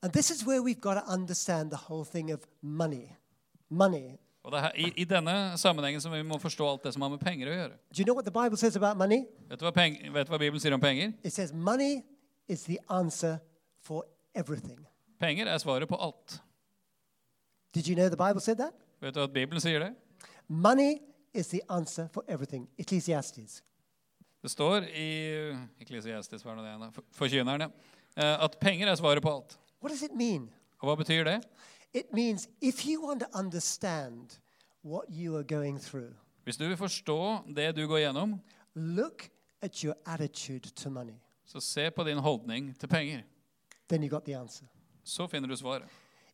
Speaker 2: And this is where we've got to understand the whole thing of money. Money.
Speaker 3: Og det er her, i, I denne sammenhengen som vi må forstå alt det som har med penger å gjøre.
Speaker 2: Do you know what the Bible says about money?
Speaker 3: Vet du hva, peng, vet du hva Bibelen sier om penger?
Speaker 2: It says money is the answer for everything.
Speaker 3: Penger er svaret på alt.
Speaker 2: Did you know the Bible said that?
Speaker 3: Vet du at Bibelen sier det?
Speaker 2: Money is the answer for everything. Ecclesiastes.
Speaker 3: Det står i Eklesiastes, hva er nå det igjen da? For- Forkynneren, ja. Eh, At penger er svaret på alt.
Speaker 2: What does it mean?
Speaker 3: Og hva betyr det?
Speaker 2: It means if you want to understand what you are going through,
Speaker 3: Hvis du vil forstå det du går gjennom,
Speaker 2: look at your attitude to money.
Speaker 3: så se på din holdning til penger.
Speaker 2: Then you got the answer.
Speaker 3: Så finner du svaret.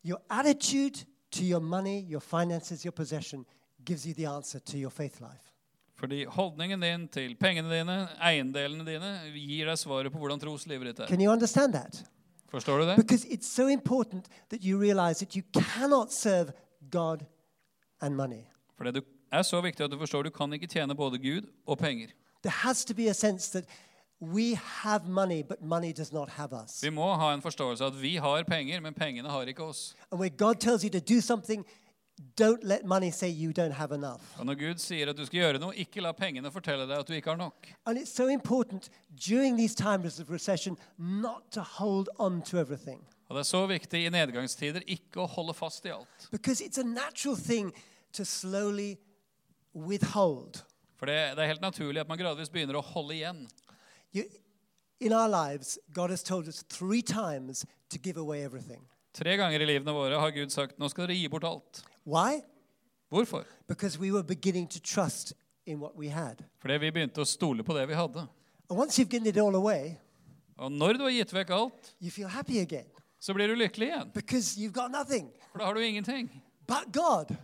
Speaker 2: Your attitude to your money, your finances, your possession gives you the answer to your faith life.
Speaker 3: Fordi holdningen din til pengene dine, eiendelene dine, gir deg svaret på hvordan troslivet ditt er.
Speaker 2: Can you understand that?
Speaker 3: Forstår du det?
Speaker 2: Because it's so important that you realize that you cannot serve God and money.
Speaker 3: For det du- er så viktig at du forstår du kan ikke tjene både Gud og penger.
Speaker 2: There has to be a sense that we have money, but money does not have us.
Speaker 3: Vi må ha en forståelse av at vi har penger, men pengene har ikke oss.
Speaker 2: And where God tells you to do something, don't let money say you don't have enough.
Speaker 3: Og når Gud sier at du skal gjøre noe, ikke la pengene fortelle deg at du ikke har nok.
Speaker 2: And it's so important during these times of recession not to hold on to everything.
Speaker 3: Og det er så viktig i nedgangstider ikke å holde fast i alt.
Speaker 2: Because it's a natural thing to slowly withhold.
Speaker 3: For det, det er helt naturlig at man gradvis begynner å holde igjen.
Speaker 2: You, in our lives, God has told us three times to give away everything.
Speaker 3: Tre ganger i livene våre har Gud sagt nå skal dere gi bort alt.
Speaker 2: Why?
Speaker 3: Hvorfor?
Speaker 2: Because we were beginning to trust in what we had.
Speaker 3: Fordi vi begynte å stole på det vi hadde.
Speaker 2: And once you've given it all away,
Speaker 3: Og når du har gitt vekk alt,
Speaker 2: you feel happy again
Speaker 3: så blir du lykkelig igjen.
Speaker 2: because you've got nothing
Speaker 3: For da har du ingenting.
Speaker 2: but God.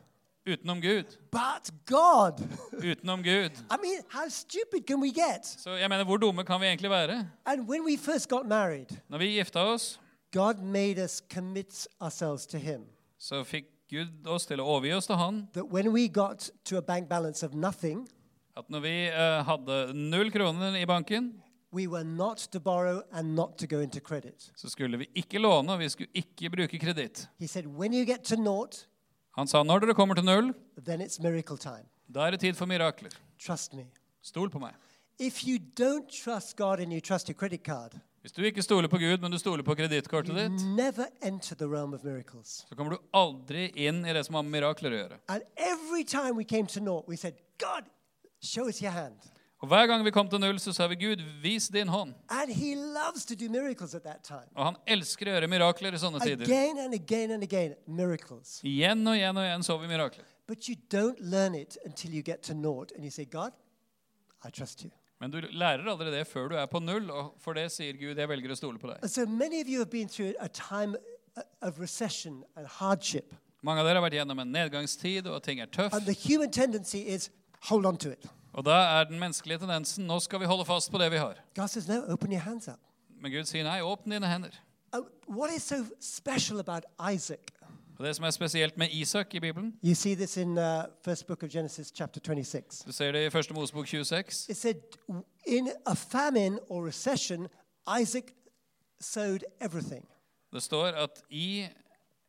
Speaker 3: Utenom Gud.
Speaker 2: But God.
Speaker 3: Utenom Gud.
Speaker 2: I mean, how stupid can we get?
Speaker 3: Så jeg mener, hvor dumme kan vi egentlig være?
Speaker 2: And when we first got married,
Speaker 3: Når vi gifta oss,
Speaker 2: God made us commit ourselves to Him.
Speaker 3: så fikk Gud oss til å overgi oss til Han.
Speaker 2: That when we got to a bank balance of nothing,
Speaker 3: At når vi eh, hadde null kroner i banken,
Speaker 2: we were not to borrow and not to go into credit.
Speaker 3: så skulle vi ikke låne, og vi skulle ikke bruke kreditt.
Speaker 2: He said, when you get to naught,
Speaker 3: Han sa når dere kommer til null,
Speaker 2: then it's miracle time.
Speaker 3: da er det tid for mirakler.
Speaker 2: Trust me.
Speaker 3: Stol på meg.
Speaker 2: If you don't trust God and you trust your credit card,
Speaker 3: Hvis du ikke stoler på Gud, men du stoler på kredittkortet
Speaker 2: you
Speaker 3: ditt,
Speaker 2: never enter the realm of miracles.
Speaker 3: så kommer du aldri inn i det som har med mirakler å gjøre.
Speaker 2: And every time we came to naught, we said, God, show us your hand.
Speaker 3: Og Hver gang vi kom til null, så sa vi Gud, vis din hånd.
Speaker 2: And He loves to do miracles at that time.
Speaker 3: Og han elsker å gjøre mirakler i sånne tider.
Speaker 2: Again and again and again, miracles.
Speaker 3: Igjen og igjen og igjen så vi mirakler.
Speaker 2: But you don't learn it until you get to naught and you say, God, I trust you.
Speaker 3: Men du lærer aldri det før du er på null, og for det sier Gud, jeg velger å stole på deg.
Speaker 2: And so many of you have been through a time uh, of recession and hardship.
Speaker 3: Mange av dere har vært gjennom en nedgangstid, og ting er
Speaker 2: And
Speaker 3: tøft.
Speaker 2: the human tendency is hold on to it.
Speaker 3: Og da er den menneskelige tendensen nå skal vi holde fast på det vi har.
Speaker 2: God says, no, open your hands up.
Speaker 3: Men Gud sier nei, åpne dine hender.
Speaker 2: Uh, what is so special about Isaac?
Speaker 3: Og Det som er spesielt med Isak i Bibelen,
Speaker 2: You see this in uh, first book of Genesis, chapter 26.
Speaker 3: du ser det i første Mosebok 26,
Speaker 2: It said, in a famine or recession, Isaac sowed everything.
Speaker 3: det står at i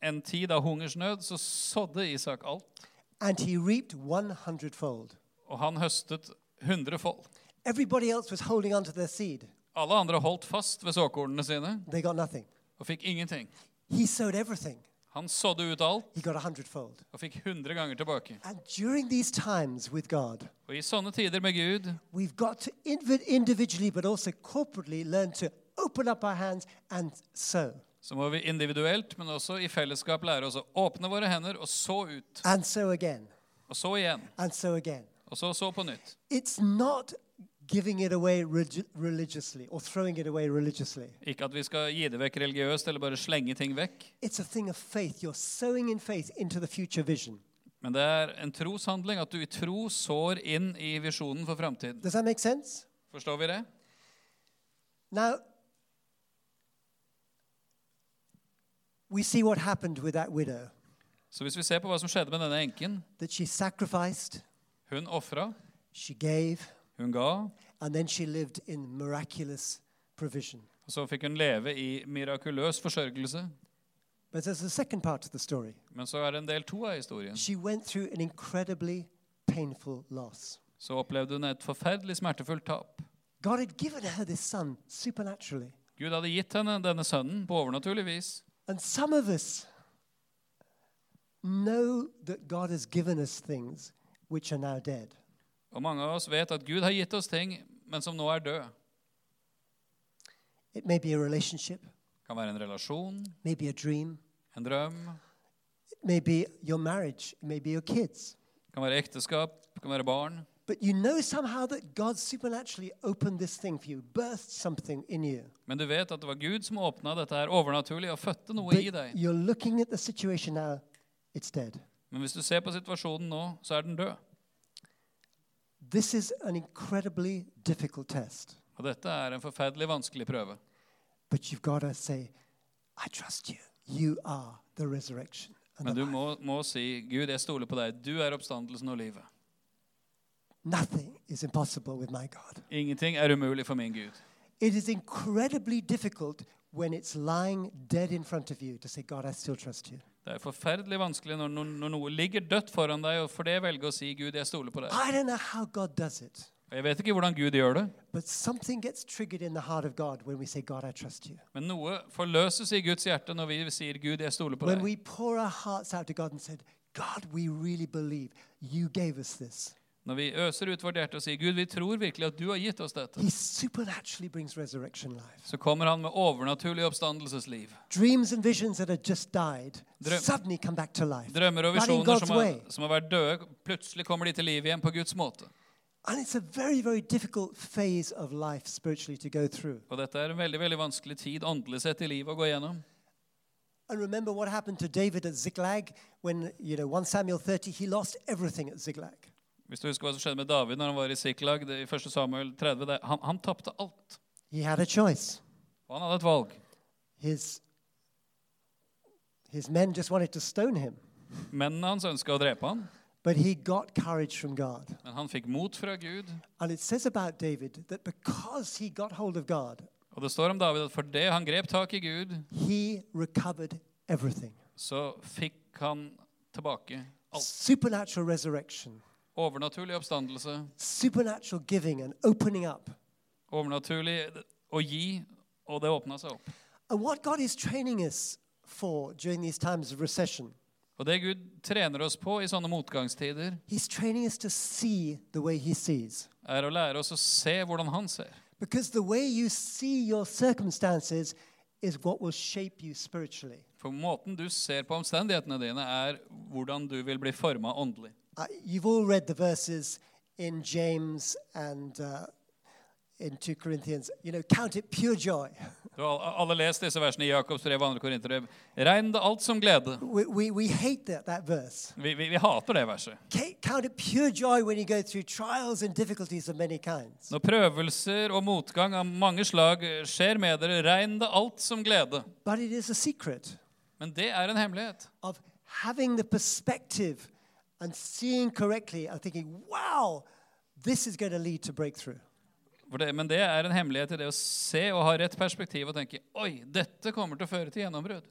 Speaker 3: en tid av hungersnød så sådde Isak alt,
Speaker 2: And he reaped 100 fold.
Speaker 3: og han høstet hundrefold.
Speaker 2: Everybody else was holding onto their seed.
Speaker 3: Alle andre holdt fast ved såkornene sine
Speaker 2: They got nothing.
Speaker 3: og fikk ingenting.
Speaker 2: He sowed everything.
Speaker 3: Han sådde ut alt
Speaker 2: He got a hundredfold.
Speaker 3: og fikk hundre ganger tilbake.
Speaker 2: And during these times with God,
Speaker 3: Og i sånne tider med Gud
Speaker 2: we've got to inv- individually but also corporately learn to open up our hands and sow,
Speaker 3: så må vi individuelt, men også i fellesskap lære oss å åpne våre hender og så ut.
Speaker 2: and sow again,
Speaker 3: Og så igjen.
Speaker 2: and sow again.
Speaker 3: Og så så på nytt.
Speaker 2: It's not giving it away relig- religiously or throwing it away religiously.
Speaker 3: Ikke at vi skal gi det vekk religiøst eller bare slenge ting vekk,
Speaker 2: It's a thing of faith. You're sowing in faith into the future vision.
Speaker 3: men det er en troshandling at du i tro sår inn i visjonen for framtiden.
Speaker 2: Does that make sense?
Speaker 3: Forstår vi det?
Speaker 2: Now, we see what happened with that widow
Speaker 3: Så hvis vi ser på hva som skjedde med denne enken
Speaker 2: that she sacrificed,
Speaker 3: Hun ofra,
Speaker 2: she gave,
Speaker 3: hun ga, og
Speaker 2: and then she lived in miraculous provision.
Speaker 3: så fikk hun leve i mirakuløs forsørgelse.
Speaker 2: But there's a second part to the story.
Speaker 3: Men så er det en del to av historien.
Speaker 2: She went through an incredibly painful loss.
Speaker 3: Så opplevde hun et forferdelig smertefullt tap.
Speaker 2: God had given her this son supernaturally.
Speaker 3: Gud hadde gitt henne denne sønnen på overnaturlig vis.
Speaker 2: And some of us know that God has given us things which are now dead.
Speaker 3: Og mange av oss vet at Gud har gitt oss ting, men som nå er død.
Speaker 2: It may be a relationship,
Speaker 3: kan være en relasjon,
Speaker 2: maybe a dream,
Speaker 3: en drøm,
Speaker 2: it may be your marriage, it may be your kids.
Speaker 3: kan være ekteskap, kan være barn.
Speaker 2: But you know somehow that God supernaturally opened this thing for you, birthed something in you.
Speaker 3: Men du vet at det var Gud som åpna dette her overnaturlig og fødte noe i
Speaker 2: But
Speaker 3: deg.
Speaker 2: you're looking at the situation now, it's dead.
Speaker 3: Men hvis du ser på situasjonen nå, så er den død.
Speaker 2: This is an incredibly difficult test.
Speaker 3: Og dette er en forferdelig vanskelig prøve.
Speaker 2: But you've got to say, I trust you. You are the resurrection. And
Speaker 3: Men
Speaker 2: the
Speaker 3: du
Speaker 2: life."
Speaker 3: må, må si, 'Gud, jeg stoler på deg. Du er oppstandelsen og livet.'
Speaker 2: Nothing is impossible with my God.
Speaker 3: Ingenting er umulig for min Gud.
Speaker 2: It is incredibly difficult when it's lying dead in front of you to say, God, I still trust you.
Speaker 3: Det er forferdelig vanskelig når, når, når noe ligger dødt foran deg, og for det velge å si, 'Gud, jeg stoler på deg'.
Speaker 2: I don't know how God does it,
Speaker 3: Og jeg vet ikke hvordan Gud gjør det,
Speaker 2: but something gets triggered in the heart of God when we say, God, I trust you.
Speaker 3: men noe forløses i Guds hjerte når vi sier, 'Gud, jeg stoler på
Speaker 2: When
Speaker 3: deg'.
Speaker 2: we pour our hearts out to God and said, God, we really believe you gave us this.
Speaker 3: Når vi øser ut vårt hjerte og sier, 'Gud, vi tror virkelig at du har gitt oss dette',
Speaker 2: He supernaturally brings resurrection life.
Speaker 3: så kommer han med overnaturlig oppstandelsesliv.
Speaker 2: Dreams and visions that had just died
Speaker 3: Drøm-
Speaker 2: suddenly come back to life.
Speaker 3: Drømmer og
Speaker 2: but in
Speaker 3: visjoner
Speaker 2: God's
Speaker 3: som har,
Speaker 2: way.
Speaker 3: som har vært døde, plutselig kommer de til liv igjen på Guds måte.
Speaker 2: And it's a very, very difficult phase of life spiritually to go through.
Speaker 3: Og dette er en veldig veldig vanskelig tid åndelig sett i livet å gå gjennom.
Speaker 2: And remember what happened to David at Ziklag when, you know, 1 Samuel 30, he lost everything at Ziklag.
Speaker 3: Hvis du husker hva som skjedde med David når han var i Siklag, det, i 1. Samuel 30, det, han, han tapte alt.
Speaker 2: He had a choice.
Speaker 3: Og han hadde et valg.
Speaker 2: His, his men just wanted to stone him,
Speaker 3: Mennene hans ønska å drepe han,
Speaker 2: but he got courage from God.
Speaker 3: men han fikk mot fra Gud.
Speaker 2: And it says about David that because he got hold of God,
Speaker 3: Og det står om David at for det han grep tak i Gud,
Speaker 2: he recovered everything.
Speaker 3: så fikk han tilbake alt.
Speaker 2: Supernatural resurrection,
Speaker 3: Overnaturlig oppstandelse.
Speaker 2: supernatural giving and opening up.
Speaker 3: Overnaturlig å gi, og det åpna seg opp.
Speaker 2: And what God is training us for during these times of recession,
Speaker 3: Og det Gud trener oss på i sånne motgangstider,
Speaker 2: He's training us to see the way He sees.
Speaker 3: er å lære oss å se hvordan han ser.
Speaker 2: Because the way you see your circumstances is what will shape you spiritually.
Speaker 3: For måten du ser på omstendighetene dine, er hvordan du vil bli forma åndelig.
Speaker 2: Uh, you've all read the verses in James and uh, in 2 Corinthians. You know, count it pure joy.
Speaker 3: Du har al- alle lest disse versene i Jakobs brev og 2. Korinterbrev. Regn det alt som glede.
Speaker 2: We, we, we hate that, that verse.
Speaker 3: Vi, vi, vi hater det verset.
Speaker 2: Ca- Count it pure joy when you go through trials and difficulties of many kinds.
Speaker 3: Når prøvelser og motgang av mange slag skjer med dere, regn det alt som glede.
Speaker 2: But it is a secret.
Speaker 3: Men det er en hemmelighet.
Speaker 2: of having the perspective and seeing correctly and thinking, wow, this is going to lead to breakthrough.
Speaker 3: For det, men det er en hemmelighet i det å se og ha rett perspektiv og tenke oi, dette kommer til å føre til gjennombrudd.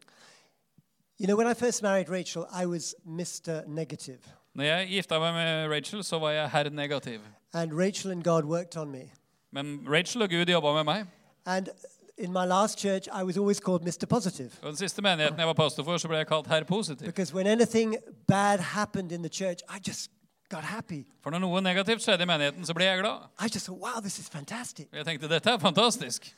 Speaker 2: You know, when I first married Rachel, I was Mr. Negative.
Speaker 3: Når jeg gifta meg med Rachel, så var jeg herr negativ.
Speaker 2: And Rachel and God worked on me.
Speaker 3: Men Rachel og Gud jobba med meg.
Speaker 2: And in my last church, I was always called Mr. Positive.
Speaker 3: Og den siste menigheten jeg var pastor for, så ble jeg kalt herr positiv.
Speaker 2: Because when anything bad happened in the church, I just got happy.
Speaker 3: For når noe negativt skjedde i menigheten, så ble jeg glad.
Speaker 2: I just thought, wow, this is fantastic.
Speaker 3: Og Jeg tenkte dette er fantastisk.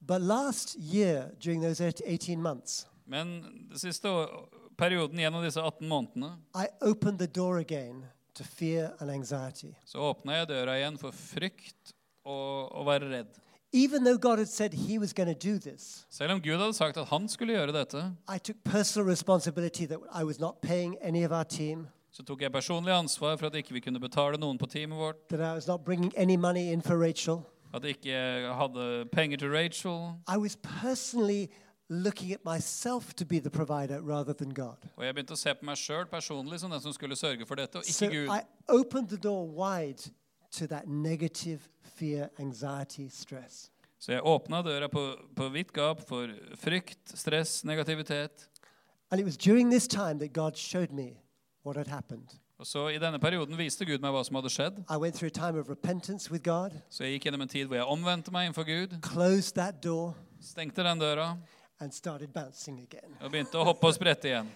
Speaker 2: But last year, during those 18 months,
Speaker 3: Men den siste å- perioden gjennom disse 18 månedene
Speaker 2: I opened the door again to fear and anxiety.
Speaker 3: så åpna jeg døra igjen for frykt og å være redd.
Speaker 2: Even though God had said He was going to do this,
Speaker 3: Selv om Gud hadde sagt at han skulle gjøre dette,
Speaker 2: I took personal responsibility that I was not paying any of our team,
Speaker 3: så tok jeg personlig ansvar for at ikke vi kunne betale noen på teamet vårt,
Speaker 2: that I was not bringing any money in for Rachel,
Speaker 3: At jeg ikke hadde penger til Rachel.
Speaker 2: I was personally looking at myself to be the provider rather than God.
Speaker 3: Og jeg begynte å se på meg sjøl personlig som den som skulle sørge for dette, og
Speaker 2: So
Speaker 3: ikke Gud.
Speaker 2: I opened the door wide to that negative fear, anxiety, stress.
Speaker 3: Så jeg åpna døra på, på vidt gap for frykt, stress, negativitet.
Speaker 2: And it was during this time that God showed me what had happened.
Speaker 3: Og så I denne perioden viste Gud meg hva som hadde skjedd.
Speaker 2: I went through a time of repentance with God,
Speaker 3: Så jeg gikk gjennom en tid hvor jeg omvendte meg innenfor Gud,
Speaker 2: closed that door,
Speaker 3: stengte den døra
Speaker 2: and started bouncing again.
Speaker 3: og begynte å hoppe og sprette igjen.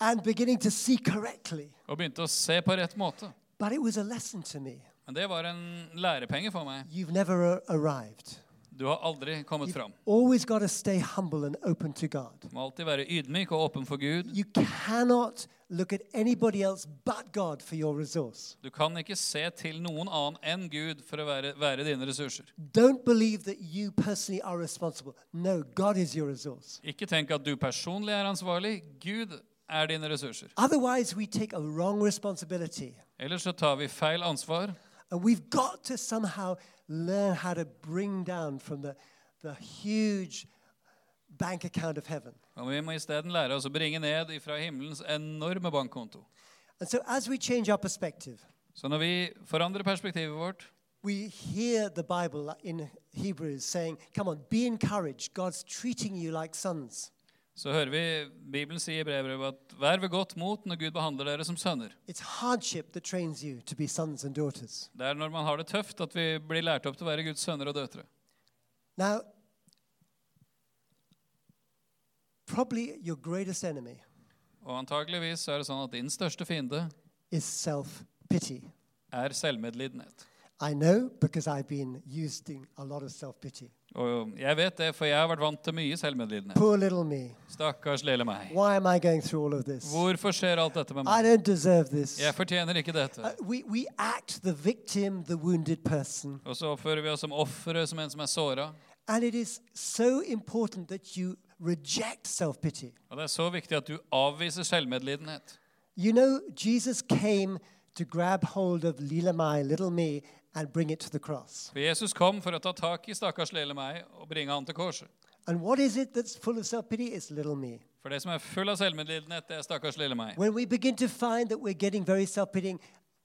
Speaker 2: And beginning to see correctly.
Speaker 3: Og begynte å se på rett måte.
Speaker 2: But it was a lesson to me.
Speaker 3: Men det var en lærepenge for meg.
Speaker 2: You've never a- arrived.
Speaker 3: Du har aldri kommet fram.
Speaker 2: Always got to stay humble and open to God.
Speaker 3: Du må alltid være ydmyk og åpen for Gud.
Speaker 2: You cannot look at anybody else but God for your resource.
Speaker 3: Du kan ikke se til noen annen enn Gud for å være, være dine ressurser.
Speaker 2: Don't believe that you personally are responsible. No, God is your resource.
Speaker 3: Ikke tenk at du personlig er ansvarlig. Gud er dine ressurser.
Speaker 2: Otherwise, we take a wrong responsibility.
Speaker 3: Ellers så tar vi feil ansvar.
Speaker 2: And we've got to somehow learn how to bring down from the, the huge bank account of heaven.
Speaker 3: Og vi må isteden lære oss å bringe ned ifra himmelens enorme bankkonto.
Speaker 2: And so, as we change our perspective,
Speaker 3: Så når vi forandrer perspektivet vårt,
Speaker 2: we hear the Bible in Hebrews saying, Come on, be encouraged. God's treating you like sons.
Speaker 3: så hører vi Bibelen si i brevbrevet at vær ved godt mot når Gud behandler dere som sønner.
Speaker 2: It's hardship that trains you to be sons and daughters.
Speaker 3: Det er når man har det tøft at vi blir lært opp til å være Guds sønner og døtre.
Speaker 2: Now, probably your greatest enemy
Speaker 3: Og antakeligvis er det sånn at din største fiende
Speaker 2: is self pity.
Speaker 3: er selvmedlidenhet.
Speaker 2: I know because I've been using a lot of self pity.
Speaker 3: Og jeg vet det, for jeg har vært vant til mye selvmedlidenhet.
Speaker 2: Poor little me.
Speaker 3: Stakkars lille meg.
Speaker 2: Why am I going through all of this?
Speaker 3: Hvorfor skjer alt dette med
Speaker 2: I
Speaker 3: meg?
Speaker 2: don't deserve this.
Speaker 3: Jeg fortjener ikke
Speaker 2: Uh,
Speaker 3: dette.
Speaker 2: we, we act the victim, the wounded person.
Speaker 3: Og så oppfører vi oss som ofre, som en som er såra.
Speaker 2: And it is so important that you reject self pity.
Speaker 3: Og det er så viktig at du avviser selvmedlidenhet.
Speaker 2: You know, Jesus came to grab hold of Lila Mai, little me, and bring it to the cross.
Speaker 3: For Jesus kom for å ta tak i stakkars lille meg og bringe han til korset.
Speaker 2: And what is it that's full of self pity? It's little me.
Speaker 3: For det som er full av selvmedlidenhet, det er stakkars lille meg.
Speaker 2: When we begin to find that we're getting very self pitying,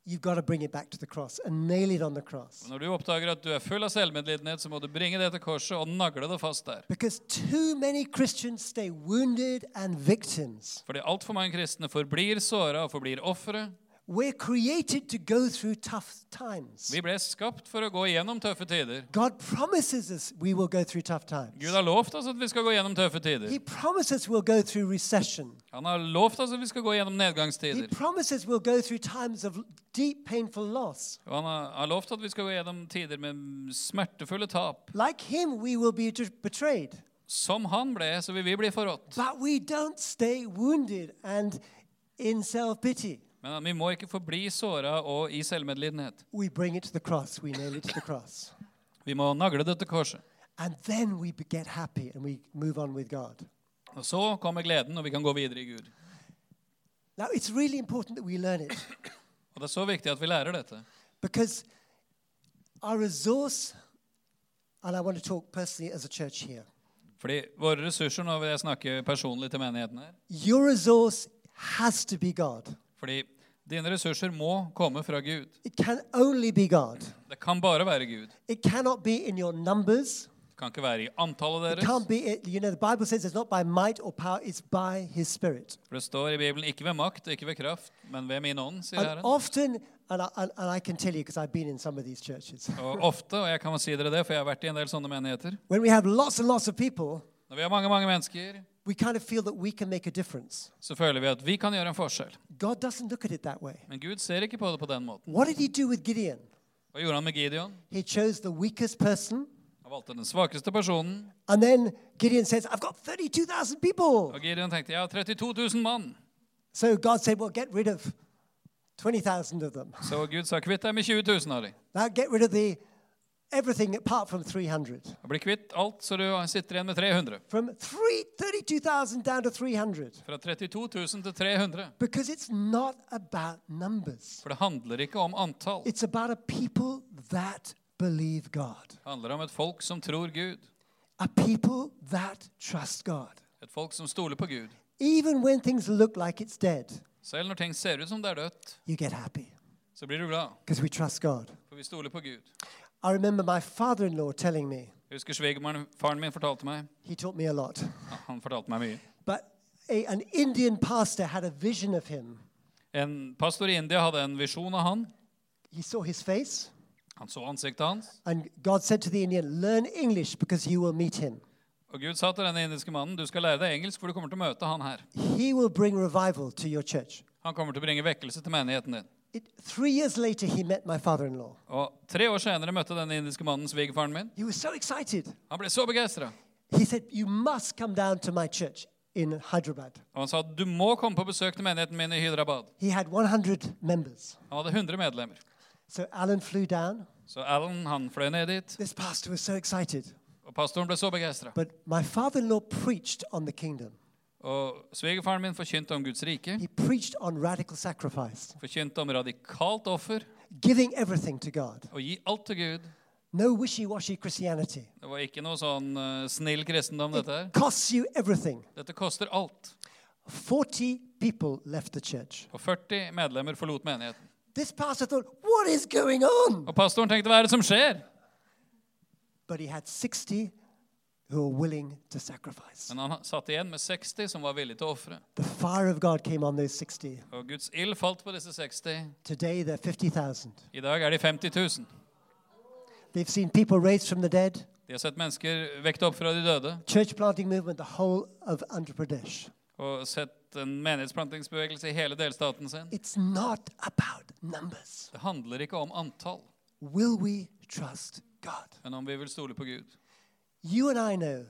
Speaker 2: you've got to bring it back to the cross and nail it on the cross.
Speaker 3: Og når du oppdager at du er full av selvmedlidenhet, så må du bringe det til korset og nagle det fast der.
Speaker 2: Because too many Christians stay wounded and victims.
Speaker 3: Fordi altfor mange kristne forblir såra og forblir ofre.
Speaker 2: We're created to go through tough times.
Speaker 3: Vi ble skapt for å gå gjennom tøffe tider.
Speaker 2: God promises us we will go through tough times.
Speaker 3: Gud har lovt oss at vi skal gå gjennom tøffe tider.
Speaker 2: He promises we'll go through recession.
Speaker 3: Han har lovt oss at vi skal gå
Speaker 2: He
Speaker 3: gjennom nedgangstider.
Speaker 2: promises we'll go through times of deep, painful loss.
Speaker 3: Og han har, har lovt at vi skal gå gjennom tider med smertefulle tap.
Speaker 2: Like him, we will be de- betrayed.
Speaker 3: Som han ble, så vil vi bli forrådt.
Speaker 2: But we don't stay wounded and in self pity.
Speaker 3: Men vi må ikke forbli såra og i selvmedlidenhet.
Speaker 2: We bring it to the cross, we nail it to the cross.
Speaker 3: Vi må nagle det til korset.
Speaker 2: And then we be- get happy and we move on with God.
Speaker 3: Og så kommer gleden, og vi kan gå videre i Gud.
Speaker 2: Now, it's really important that we learn it
Speaker 3: Og det er så viktig at vi lærer dette.
Speaker 2: because our resource, and I want to talk personally as a church here,
Speaker 3: Fordi våre ressurser, nå vil jeg snakke personlig til menigheten her
Speaker 2: your resource has to be God.
Speaker 3: Fordi dine ressurser må komme fra Gud.
Speaker 2: It can only be God.
Speaker 3: Det kan bare være Gud.
Speaker 2: It cannot be in your numbers.
Speaker 3: Det kan ikke være i antallet
Speaker 2: It
Speaker 3: deres.
Speaker 2: can't be, it, you know, the Bible says it's not by might or power, it's by His Spirit.
Speaker 3: For det står i Bibelen ikke ved makt, ikke ved kraft, men ved min ånd, sier
Speaker 2: And
Speaker 3: Herren.
Speaker 2: often, and I, and, and I can tell you because I've been in some of these churches,
Speaker 3: Og ofte, og jeg kan si dere det, for jeg har vært i en del sånne menigheter
Speaker 2: when we have lots and lots of people,
Speaker 3: Når vi har mange, mange mennesker,
Speaker 2: we kind of feel that we can make a difference.
Speaker 3: så føler vi at vi kan gjøre en forskjell.
Speaker 2: God doesn't look at it that way.
Speaker 3: Men Gud ser ikke på det på den måten.
Speaker 2: What did he do with Gideon?
Speaker 3: Hva gjorde han med Gideon?
Speaker 2: He chose the weakest person,
Speaker 3: Han valgte den svakeste personen.
Speaker 2: and then Gideon says, I've got 32,000 people.
Speaker 3: Og Gideon tenkte jeg har 32 000 mann.
Speaker 2: So God said, Well, get rid of 20,000 of them.
Speaker 3: Så Gud sa kvitt deg med 20 000 av dem.
Speaker 2: Now get rid of the everything apart from 300.
Speaker 3: Og bli kvitt alt, så du sitter igjen med 300.
Speaker 2: From three, 32,000 down to 300.
Speaker 3: Fra 32 000 til 300.
Speaker 2: Because it's not about numbers.
Speaker 3: For det handler ikke om antall.
Speaker 2: It's about a people that believe God,
Speaker 3: Det handler om et folk som tror Gud.
Speaker 2: a people that trust God,
Speaker 3: Et folk som stoler på Gud.
Speaker 2: even when things look like it's dead.
Speaker 3: Selv når ting ser ut som det er dødt,
Speaker 2: You get happy
Speaker 3: så blir du glad,
Speaker 2: because we trust God.
Speaker 3: for vi stoler på Gud.
Speaker 2: I remember my father-in-law telling me.
Speaker 3: Jeg husker svigermoren faren min fortalte meg
Speaker 2: He taught me a lot.
Speaker 3: ja, Han fortalte meg mye.
Speaker 2: But a, an Indian pastor had a vision of him.
Speaker 3: En pastor i India hadde en visjon av han.
Speaker 2: He saw his face,
Speaker 3: Han så ansiktet hans,
Speaker 2: and God said to the Indian, Learn English because you will meet him.
Speaker 3: og Gud sa til denne indiske mannen, du skal lære deg engelsk, for du kommer til å møte han her.
Speaker 2: He will bring revival to your church.
Speaker 3: Han kommer til å bringe vekkelse til menigheten din.
Speaker 2: It, three years later, he met my father in law.
Speaker 3: Og tre år senere møtte denne indiske mannen svigerfaren min.
Speaker 2: He was so excited.
Speaker 3: Han ble så begeistra,
Speaker 2: He said, You must come down to my church in Hyderabad.
Speaker 3: og han sa, du må komme på besøk til menigheten min i Hyderabad.
Speaker 2: He had 100 members.
Speaker 3: Han hadde 100 medlemmer.
Speaker 2: So Alan flew down.
Speaker 3: Så Alan han fløy ned dit,
Speaker 2: This pastor was so excited.
Speaker 3: og pastoren ble så begeistra.
Speaker 2: But my father in law preached on the kingdom,
Speaker 3: Og svigerfaren min forkynte om Guds rike,
Speaker 2: he preached on radical sacrifice.
Speaker 3: forkynte om radikalt offer,
Speaker 2: giving everything to God.
Speaker 3: å gi alt til Gud.
Speaker 2: No wishy washy Christianity.
Speaker 3: Det var ikke noe sånn eh, snill kristendom, dette her.
Speaker 2: Costs you everything.
Speaker 3: Dette koster alt.
Speaker 2: 40 people left the church.
Speaker 3: Og 40 medlemmer forlot menigheten.
Speaker 2: This pastor thought, what is going on?
Speaker 3: Og pastoren tenkte, hva er det som skjer?
Speaker 2: But he had 60 who were willing to sacrifice.
Speaker 3: Men han satt igjen med 60 som var villige til å ofre.
Speaker 2: The fire of God came on those 60.
Speaker 3: Og Guds ild falt på disse 60.
Speaker 2: Today they're 50,000.
Speaker 3: I dag er de 50 000.
Speaker 2: They've seen people raised from the dead,
Speaker 3: De har sett mennesker vekt opp fra de døde,
Speaker 2: church planting movement, the whole of Andhra Pradesh.
Speaker 3: og sett en menighetsplantingsbevegelse i hele delstaten sin.
Speaker 2: It's not about numbers.
Speaker 3: Det handler ikke om antall,
Speaker 2: Will we trust God?
Speaker 3: men om vi vil stole på Gud.
Speaker 2: You and I know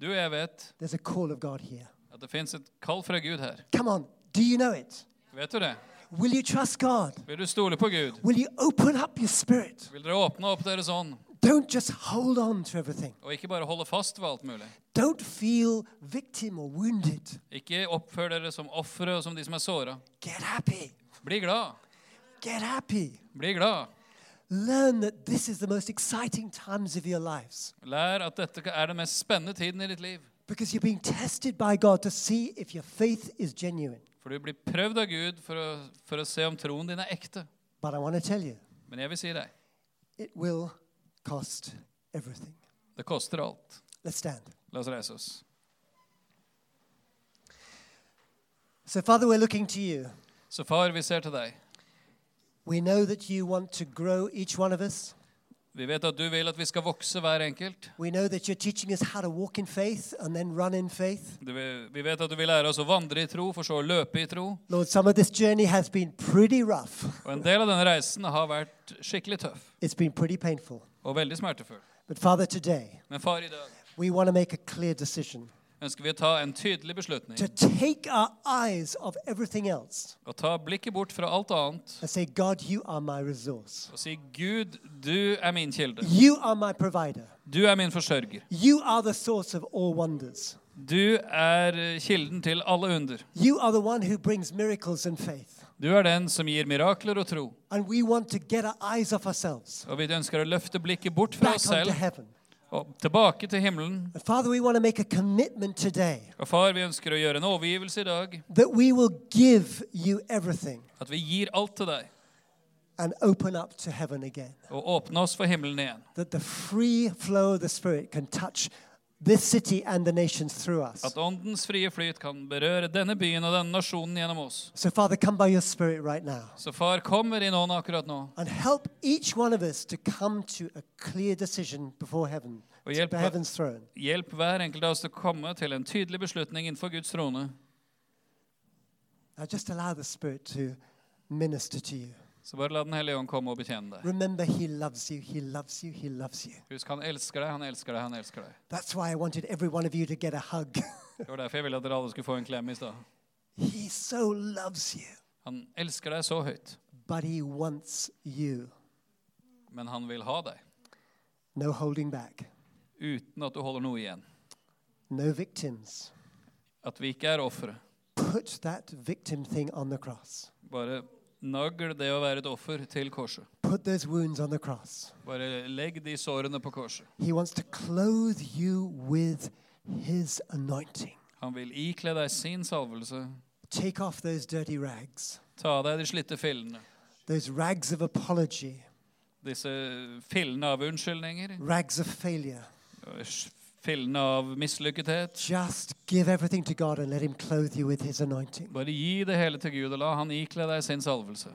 Speaker 3: Du og jeg vet
Speaker 2: there's a call of God here.
Speaker 3: at det fins et kall fra Gud her.
Speaker 2: Come on, do you know it?
Speaker 3: Vet du det?
Speaker 2: Will you trust God?
Speaker 3: Vil du stole på Gud?
Speaker 2: Will you open up your spirit?
Speaker 3: Vil dere åpne opp deres ånd
Speaker 2: Don't just hold on to everything.
Speaker 3: og ikke bare holde fast ved alt mulig?
Speaker 2: Don't feel victim or wounded.
Speaker 3: Ikke oppfør dere som ofre og som de som er såra.
Speaker 2: Get happy.
Speaker 3: Bli glad.
Speaker 2: Get happy.
Speaker 3: Bli glad.
Speaker 2: Learn that this is the most exciting times of your lives
Speaker 3: Lær at dette er den mest spennende tiden i ditt liv.
Speaker 2: because you're being tested by God to see if your faith is genuine.
Speaker 3: For du blir prøvd av Gud for å, for å se om troen din er ekte.
Speaker 2: But I want to tell you,
Speaker 3: Men jeg vil si deg,
Speaker 2: it will cost everything.
Speaker 3: det koster alt.
Speaker 2: Let's stand.
Speaker 3: La oss reise oss.
Speaker 2: So, Father, we're looking to you.
Speaker 3: Så far, vi ser til deg.
Speaker 2: We know that you want to grow each one of us.
Speaker 3: Vi vet at du vil at vi skal vokse hver enkelt.
Speaker 2: We know that you're teaching us how to walk in faith and then run in faith.
Speaker 3: Du, vil- vi vet at du vil lære oss å vandre i tro, for så å løpe i tro.
Speaker 2: Lord, some of this journey has been pretty rough.
Speaker 3: Og en del av denne reisen har vært skikkelig tøff
Speaker 2: It's been pretty painful.
Speaker 3: og veldig smertefull.
Speaker 2: But Father, today
Speaker 3: Men far, i dag
Speaker 2: we want to make a clear decision
Speaker 3: ønsker vi å ta en tydelig beslutning
Speaker 2: to take our eyes off everything else
Speaker 3: og ta blikket bort fra alt annet
Speaker 2: and say, God, you are my resource.
Speaker 3: og si Gud, du er min kilde.
Speaker 2: You are my provider.
Speaker 3: Du er min forsørger.
Speaker 2: You are the source of all wonders.
Speaker 3: Du er eh, kilden til alle under.
Speaker 2: You are the one who brings miracles and faith.
Speaker 3: Du er den som gir mirakler og tro.
Speaker 2: And we want to get our eyes off ourselves,
Speaker 3: Og vi ønsker å løfte blikket bort fra
Speaker 2: back
Speaker 3: oss
Speaker 2: onto
Speaker 3: selv
Speaker 2: heaven.
Speaker 3: og tilbake til himmelen.
Speaker 2: And Father, we want to make a commitment today
Speaker 3: Og far, vi ønsker å gjøre en overgivelse i dag.
Speaker 2: that we will give you everything
Speaker 3: At vi gir alt til deg
Speaker 2: and open up to heaven again.
Speaker 3: og åpne oss for himmelen igjen.
Speaker 2: that the free flow of the Spirit can touch this city and the nations through us.
Speaker 3: At åndens frie flyt kan berøre denne byen og denne nasjonen gjennom oss.
Speaker 2: So, Father, come by your Spirit right now
Speaker 3: Så far, kom med din ånd akkurat nå.
Speaker 2: and help each one of us to come to a clear decision before heaven,
Speaker 3: Og
Speaker 2: to
Speaker 3: hjelp-
Speaker 2: the heaven's throne.
Speaker 3: Hjelp hver enkelt av oss til å komme til en tydelig beslutning innenfor Guds trone.
Speaker 2: Now, just allow the Spirit to minister to you.
Speaker 3: Så bare la Den hellige ånd komme og betjene deg.
Speaker 2: Remember, He loves you, He loves you, He loves you.
Speaker 3: Husk, han elsker deg, han elsker deg, han elsker deg.
Speaker 2: That's why I wanted every one of you to get a hug.
Speaker 3: Det var derfor jeg ville at dere alle skulle få en klem i stad.
Speaker 2: he so loves you,
Speaker 3: Han elsker deg så høyt,
Speaker 2: but He wants you.
Speaker 3: men han vil ha deg.
Speaker 2: No holding back,
Speaker 3: Uten at du holder noe igjen.
Speaker 2: no victims.
Speaker 3: At vi ikke er ofre.
Speaker 2: Put that victim thing on the cross.
Speaker 3: Bare Nagl det å være et offer til korset.
Speaker 2: Put those wounds on the cross.
Speaker 3: Bare legg de sårene på korset.
Speaker 2: He wants to clothe you with His anointing.
Speaker 3: Han vil ikle deg sin salvelse.
Speaker 2: Take off those dirty rags,
Speaker 3: Ta av deg de slitte fillene.
Speaker 2: those rags of apology,
Speaker 3: Disse fillene av unnskyldninger.
Speaker 2: rags of failure.
Speaker 3: Fillene av mislykkethet.
Speaker 2: Just give everything to God and let Him clothe you with His anointing.
Speaker 3: Bare gi det hele til Gud, og la han ikle deg sin salvelse.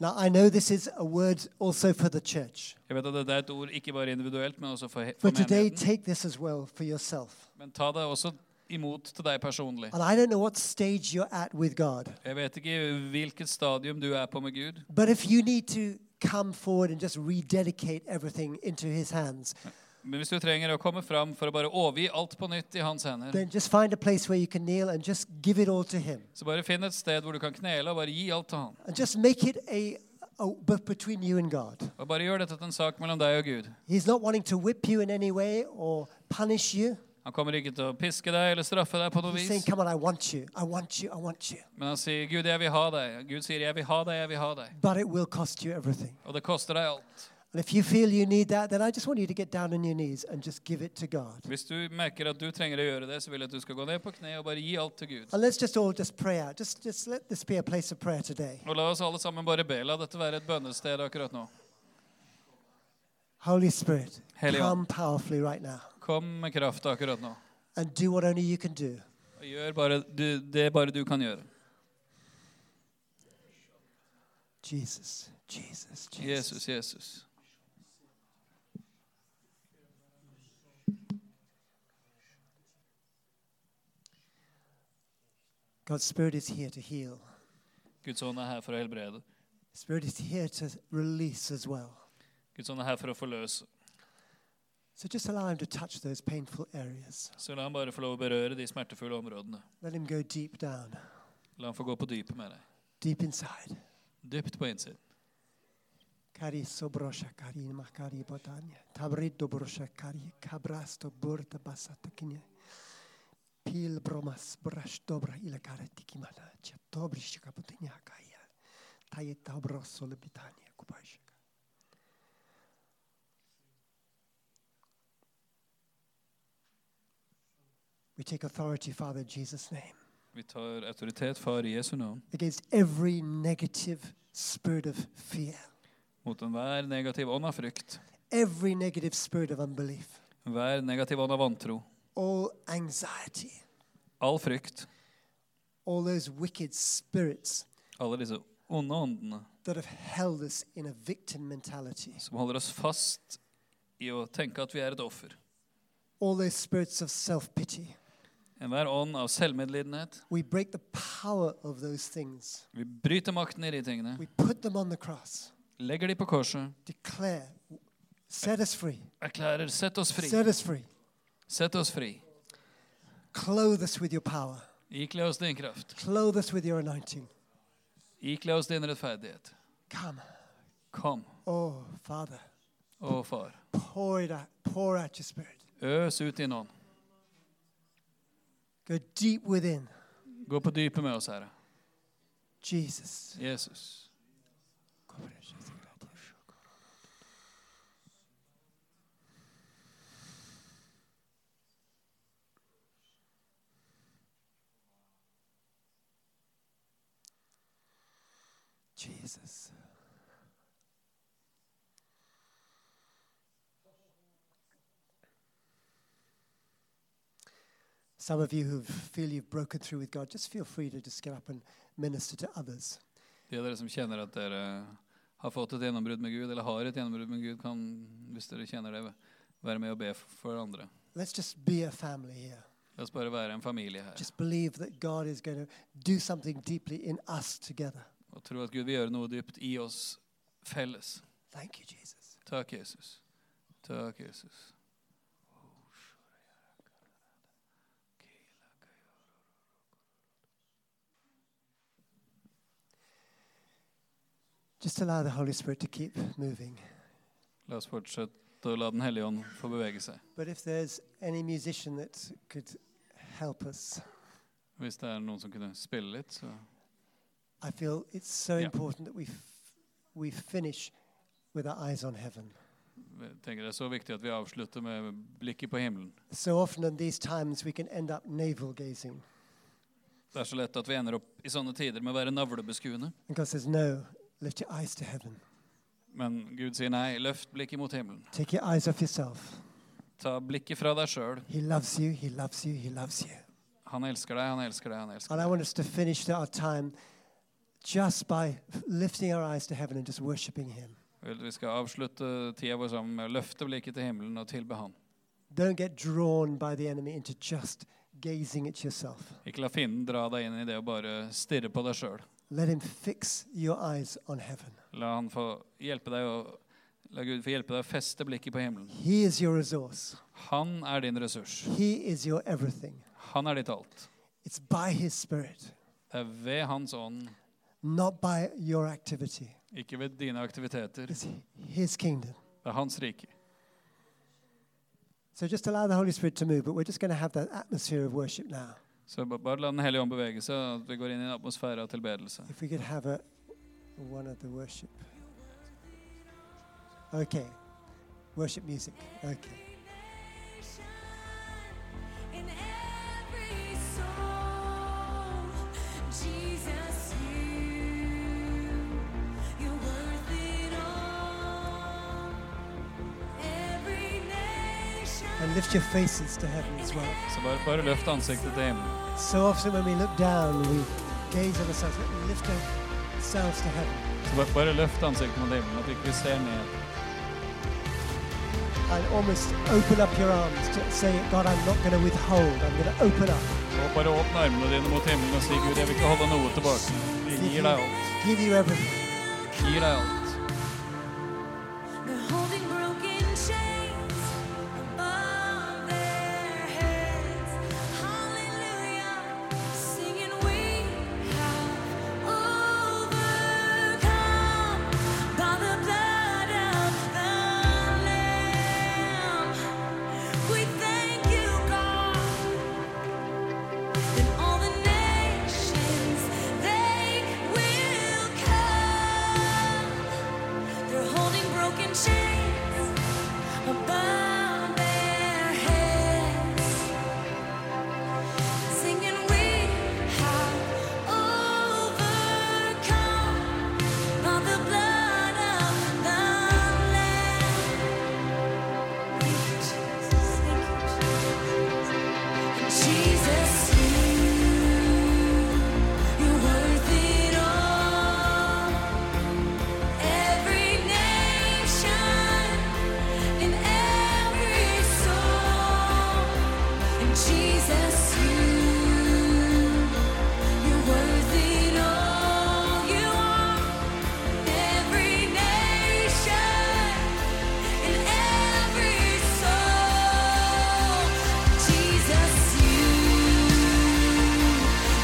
Speaker 2: Now, I know this is a word also for the church.
Speaker 3: Jeg vet at Dette er et ord ikke bare individuelt, men også for, he- for
Speaker 2: But today,
Speaker 3: menigheten.
Speaker 2: take this as well for yourself.
Speaker 3: Men ta det også imot til deg personlig.
Speaker 2: And I don't know what stage you're at with God,
Speaker 3: Jeg vet ikke hvilket stadium du er på med Gud,
Speaker 2: but if you need to come forward and just rededicate everything into His hands,
Speaker 3: men hvis du trenger å komme fram for å bare overgi alt på nytt i hans hender,
Speaker 2: then just find a place where you can kneel and just give it all to Him.
Speaker 3: så bare finn et sted hvor du kan knele og bare gi alt til han.
Speaker 2: And just make it a, a but between you and God.
Speaker 3: Og bare gjør dette til en sak mellom deg og Gud.
Speaker 2: He's not wanting to whip you in any way or punish you.
Speaker 3: Han kommer ikke til å piske deg eller straffe deg på noe
Speaker 2: He's saying,
Speaker 3: vis,
Speaker 2: Come on, I want you. I want you. I want you.
Speaker 3: men han sier, 'Gud, jeg vil ha deg'. Gud sier, 'Jeg vil ha deg, jeg vil ha deg'.
Speaker 2: But it will cost you everything.
Speaker 3: Og det koster deg alt.
Speaker 2: And if you feel you need that, then I just want you to get down on your knees and just give it to God.
Speaker 3: Hvis du merker at du trenger å gjøre det, så vil jeg at du skal gå ned på kne og bare gi alt til Gud.
Speaker 2: And let's just all just pray out. Just, just let this be a place of prayer today.
Speaker 3: Og la oss alle sammen bare be. La dette være et bønnested akkurat nå.
Speaker 2: Holy Spirit,
Speaker 3: Helio.
Speaker 2: come powerfully right now
Speaker 3: Kom med kraft akkurat nå.
Speaker 2: and do what only you can do.
Speaker 3: Og gjør bare du, det bare du kan gjøre.
Speaker 2: Jesus, Jesus, Jesus.
Speaker 3: Jesus, Jesus.
Speaker 2: God's Spirit is here to heal.
Speaker 3: Guds ånd er her for å helbrede.
Speaker 2: Spirit is here to release as well.
Speaker 3: Guds ånd er her for å forløse.
Speaker 2: So just allow him to touch those painful areas.
Speaker 3: Så la han bare få lov å berøre de smertefulle områdene.
Speaker 2: Let him go deep down,
Speaker 3: La han få gå på dypet med deg.
Speaker 2: deep inside.
Speaker 3: Dypt på innsiden.
Speaker 2: Kari sobrosha kari makari botania. Tabrido brosha kari kabrasto burta basatakinia. Pil bromas brash dobra ila karatikimana. Chatobrisha kaputinia kaya. Tayeta brosso lebitania kubashaka. We take authority, Father, in Jesus' name,
Speaker 3: Vi tar autoritet, Far, i Jesu navn,
Speaker 2: against every negative spirit of fear,
Speaker 3: mot enhver negativ ånd av frykt,
Speaker 2: every negative spirit of unbelief.
Speaker 3: enhver negativ ånd av vantro,
Speaker 2: all anxiety,
Speaker 3: all frykt,
Speaker 2: all those wicked spirits
Speaker 3: alle disse onde åndene
Speaker 2: that have held us in a victim mentality,
Speaker 3: som holder oss fast i å tenke at vi er et offer.
Speaker 2: all those spirits of self pity.
Speaker 3: Enhver ånd av selvmedlidenhet.
Speaker 2: We break the power of those things.
Speaker 3: Vi bryter makten i de tingene,
Speaker 2: We put them on the cross,
Speaker 3: legger de på korset,
Speaker 2: declare, set us free,
Speaker 3: erklærer 'sett oss fri',
Speaker 2: set us free,
Speaker 3: sett oss fri.
Speaker 2: clothe us with your power,
Speaker 3: Ikle oss din kraft,
Speaker 2: clothe us with your anointing.
Speaker 3: ikle oss din rettferdighet.
Speaker 2: Come,
Speaker 3: Kom,
Speaker 2: oh Father,
Speaker 3: å Far,
Speaker 2: pour it out, pour out your spirit.
Speaker 3: øs ut din ånd.
Speaker 2: Go deep within,
Speaker 3: Gå på dypet med oss, Herre.
Speaker 2: Jesus.
Speaker 3: Jesus.
Speaker 2: Jesus. Some of you who feel you've broken through with God, just feel free to just get up and minister to others.
Speaker 3: De av dere som kjenner at dere har fått et gjennombrudd med Gud, eller har et gjennombrudd med Gud, kan, hvis dere kjenner det, være med og be for andre.
Speaker 2: Let's just be a family here.
Speaker 3: La oss bare være en familie her
Speaker 2: Just believe that God is going to do something deeply in us together.
Speaker 3: og tro at Gud vil gjøre noe dypt i oss felles.
Speaker 2: Thank you, Jesus.
Speaker 3: Takk, Jesus. Takk, Jesus.
Speaker 2: Just allow the Holy Spirit to keep moving.
Speaker 3: La oss fortsette å la Den hellige ånd få bevege seg.
Speaker 2: But if there's any musician that could help us,
Speaker 3: Hvis det er noen som kunne spille litt, så
Speaker 2: I feel it's so
Speaker 3: Yeah.
Speaker 2: important that we, f- we finish with our eyes on heaven.
Speaker 3: Jeg tenker Det er så viktig at vi avslutter med blikket på himmelen.
Speaker 2: So often in these times, we can end up navel gazing
Speaker 3: Det er så lett at vi ender opp i sånne tider med å være navlebeskuende.
Speaker 2: And God says, No, lift your eyes to heaven.
Speaker 3: Men Gud sier nei, løft blikket mot himmelen.
Speaker 2: Take your eyes off yourself.
Speaker 3: Ta blikket fra deg sjøl.
Speaker 2: He loves you, He loves you, He loves you.
Speaker 3: Han elsker deg, han elsker deg, han elsker
Speaker 2: And I want us to finish our time just by lifting our eyes to heaven and just worshiping Him.
Speaker 3: deg. Vi skal avslutte tida vår sammen med å løfte blikket til himmelen og tilbe Han.
Speaker 2: Don't get drawn by the enemy into just gazing at yourself.
Speaker 3: Ikke la fienden dra deg inn i det å bare stirre på deg sjøl.
Speaker 2: Let Him fix your eyes on heaven.
Speaker 3: La han få hjelpe deg å La Gud få hjelpe deg å feste blikket på himmelen.
Speaker 2: He is your resource,
Speaker 3: Han er din ressurs.
Speaker 2: He is your everything.
Speaker 3: Han er ditt alt.
Speaker 2: It's by His Spirit,
Speaker 3: Det er ved Hans ånd,
Speaker 2: not by your activity.
Speaker 3: ikke ved dine aktiviteter.
Speaker 2: It's His kingdom.
Speaker 3: Det er Hans rike.
Speaker 2: So just allow the Holy Spirit to move, but we're just going to have that atmosphere of worship now.
Speaker 3: Så ba- bare la Den hellige ånd bevege seg, og at vi går inn i en atmosfære av tilbedelse.
Speaker 2: If we could have a one of the worship. Okay. Worship music. Okay.
Speaker 4: In every soul, Jesus, you, you're worth it all. Every
Speaker 2: And
Speaker 4: nation,
Speaker 2: lift your faces to heaven as well.
Speaker 3: Så bare, bare løft ansiktet til himmelen.
Speaker 2: So often when we look down, we gaze at ourselves. Let me lift ourselves to heaven.
Speaker 3: Så bare, bare løft ansiktet mot himmelen, at vi ikke ser ned.
Speaker 2: And almost open up your arms to say, God, I'm not going to withhold. I'm going to open up.
Speaker 3: Og bare åpne armene dine mot himmelen og si, Gud, jeg vil ikke holde noe tilbake. Jeg gir deg alt.
Speaker 2: Give you everything.
Speaker 3: Gir deg alt.
Speaker 4: they're holding broken chains above their heads. Hallelujah, singing we have overcome by the blood of the Lamb. We thank you, God. Then all the nations they will come. They're holding broken chains above their heads, singing we have overcome by the blood of the Lamb. Thank you, Jesus. Thank you, Jesus. Jesus, you, you're worth it all. Every nation, in every soul, and Jesus, you, you're worth it all. You are every nation. In every soul, Jesus, you,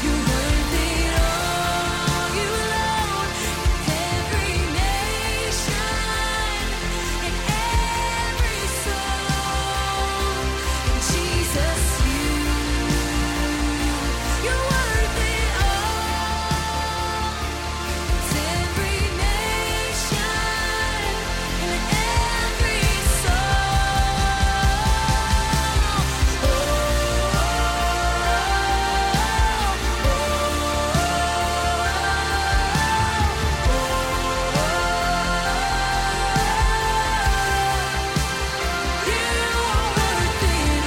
Speaker 4: you're worth it all. You alone, every nation, in every soul, Jesus, you, you're worth it all. It's every nation and every soul. You are worth it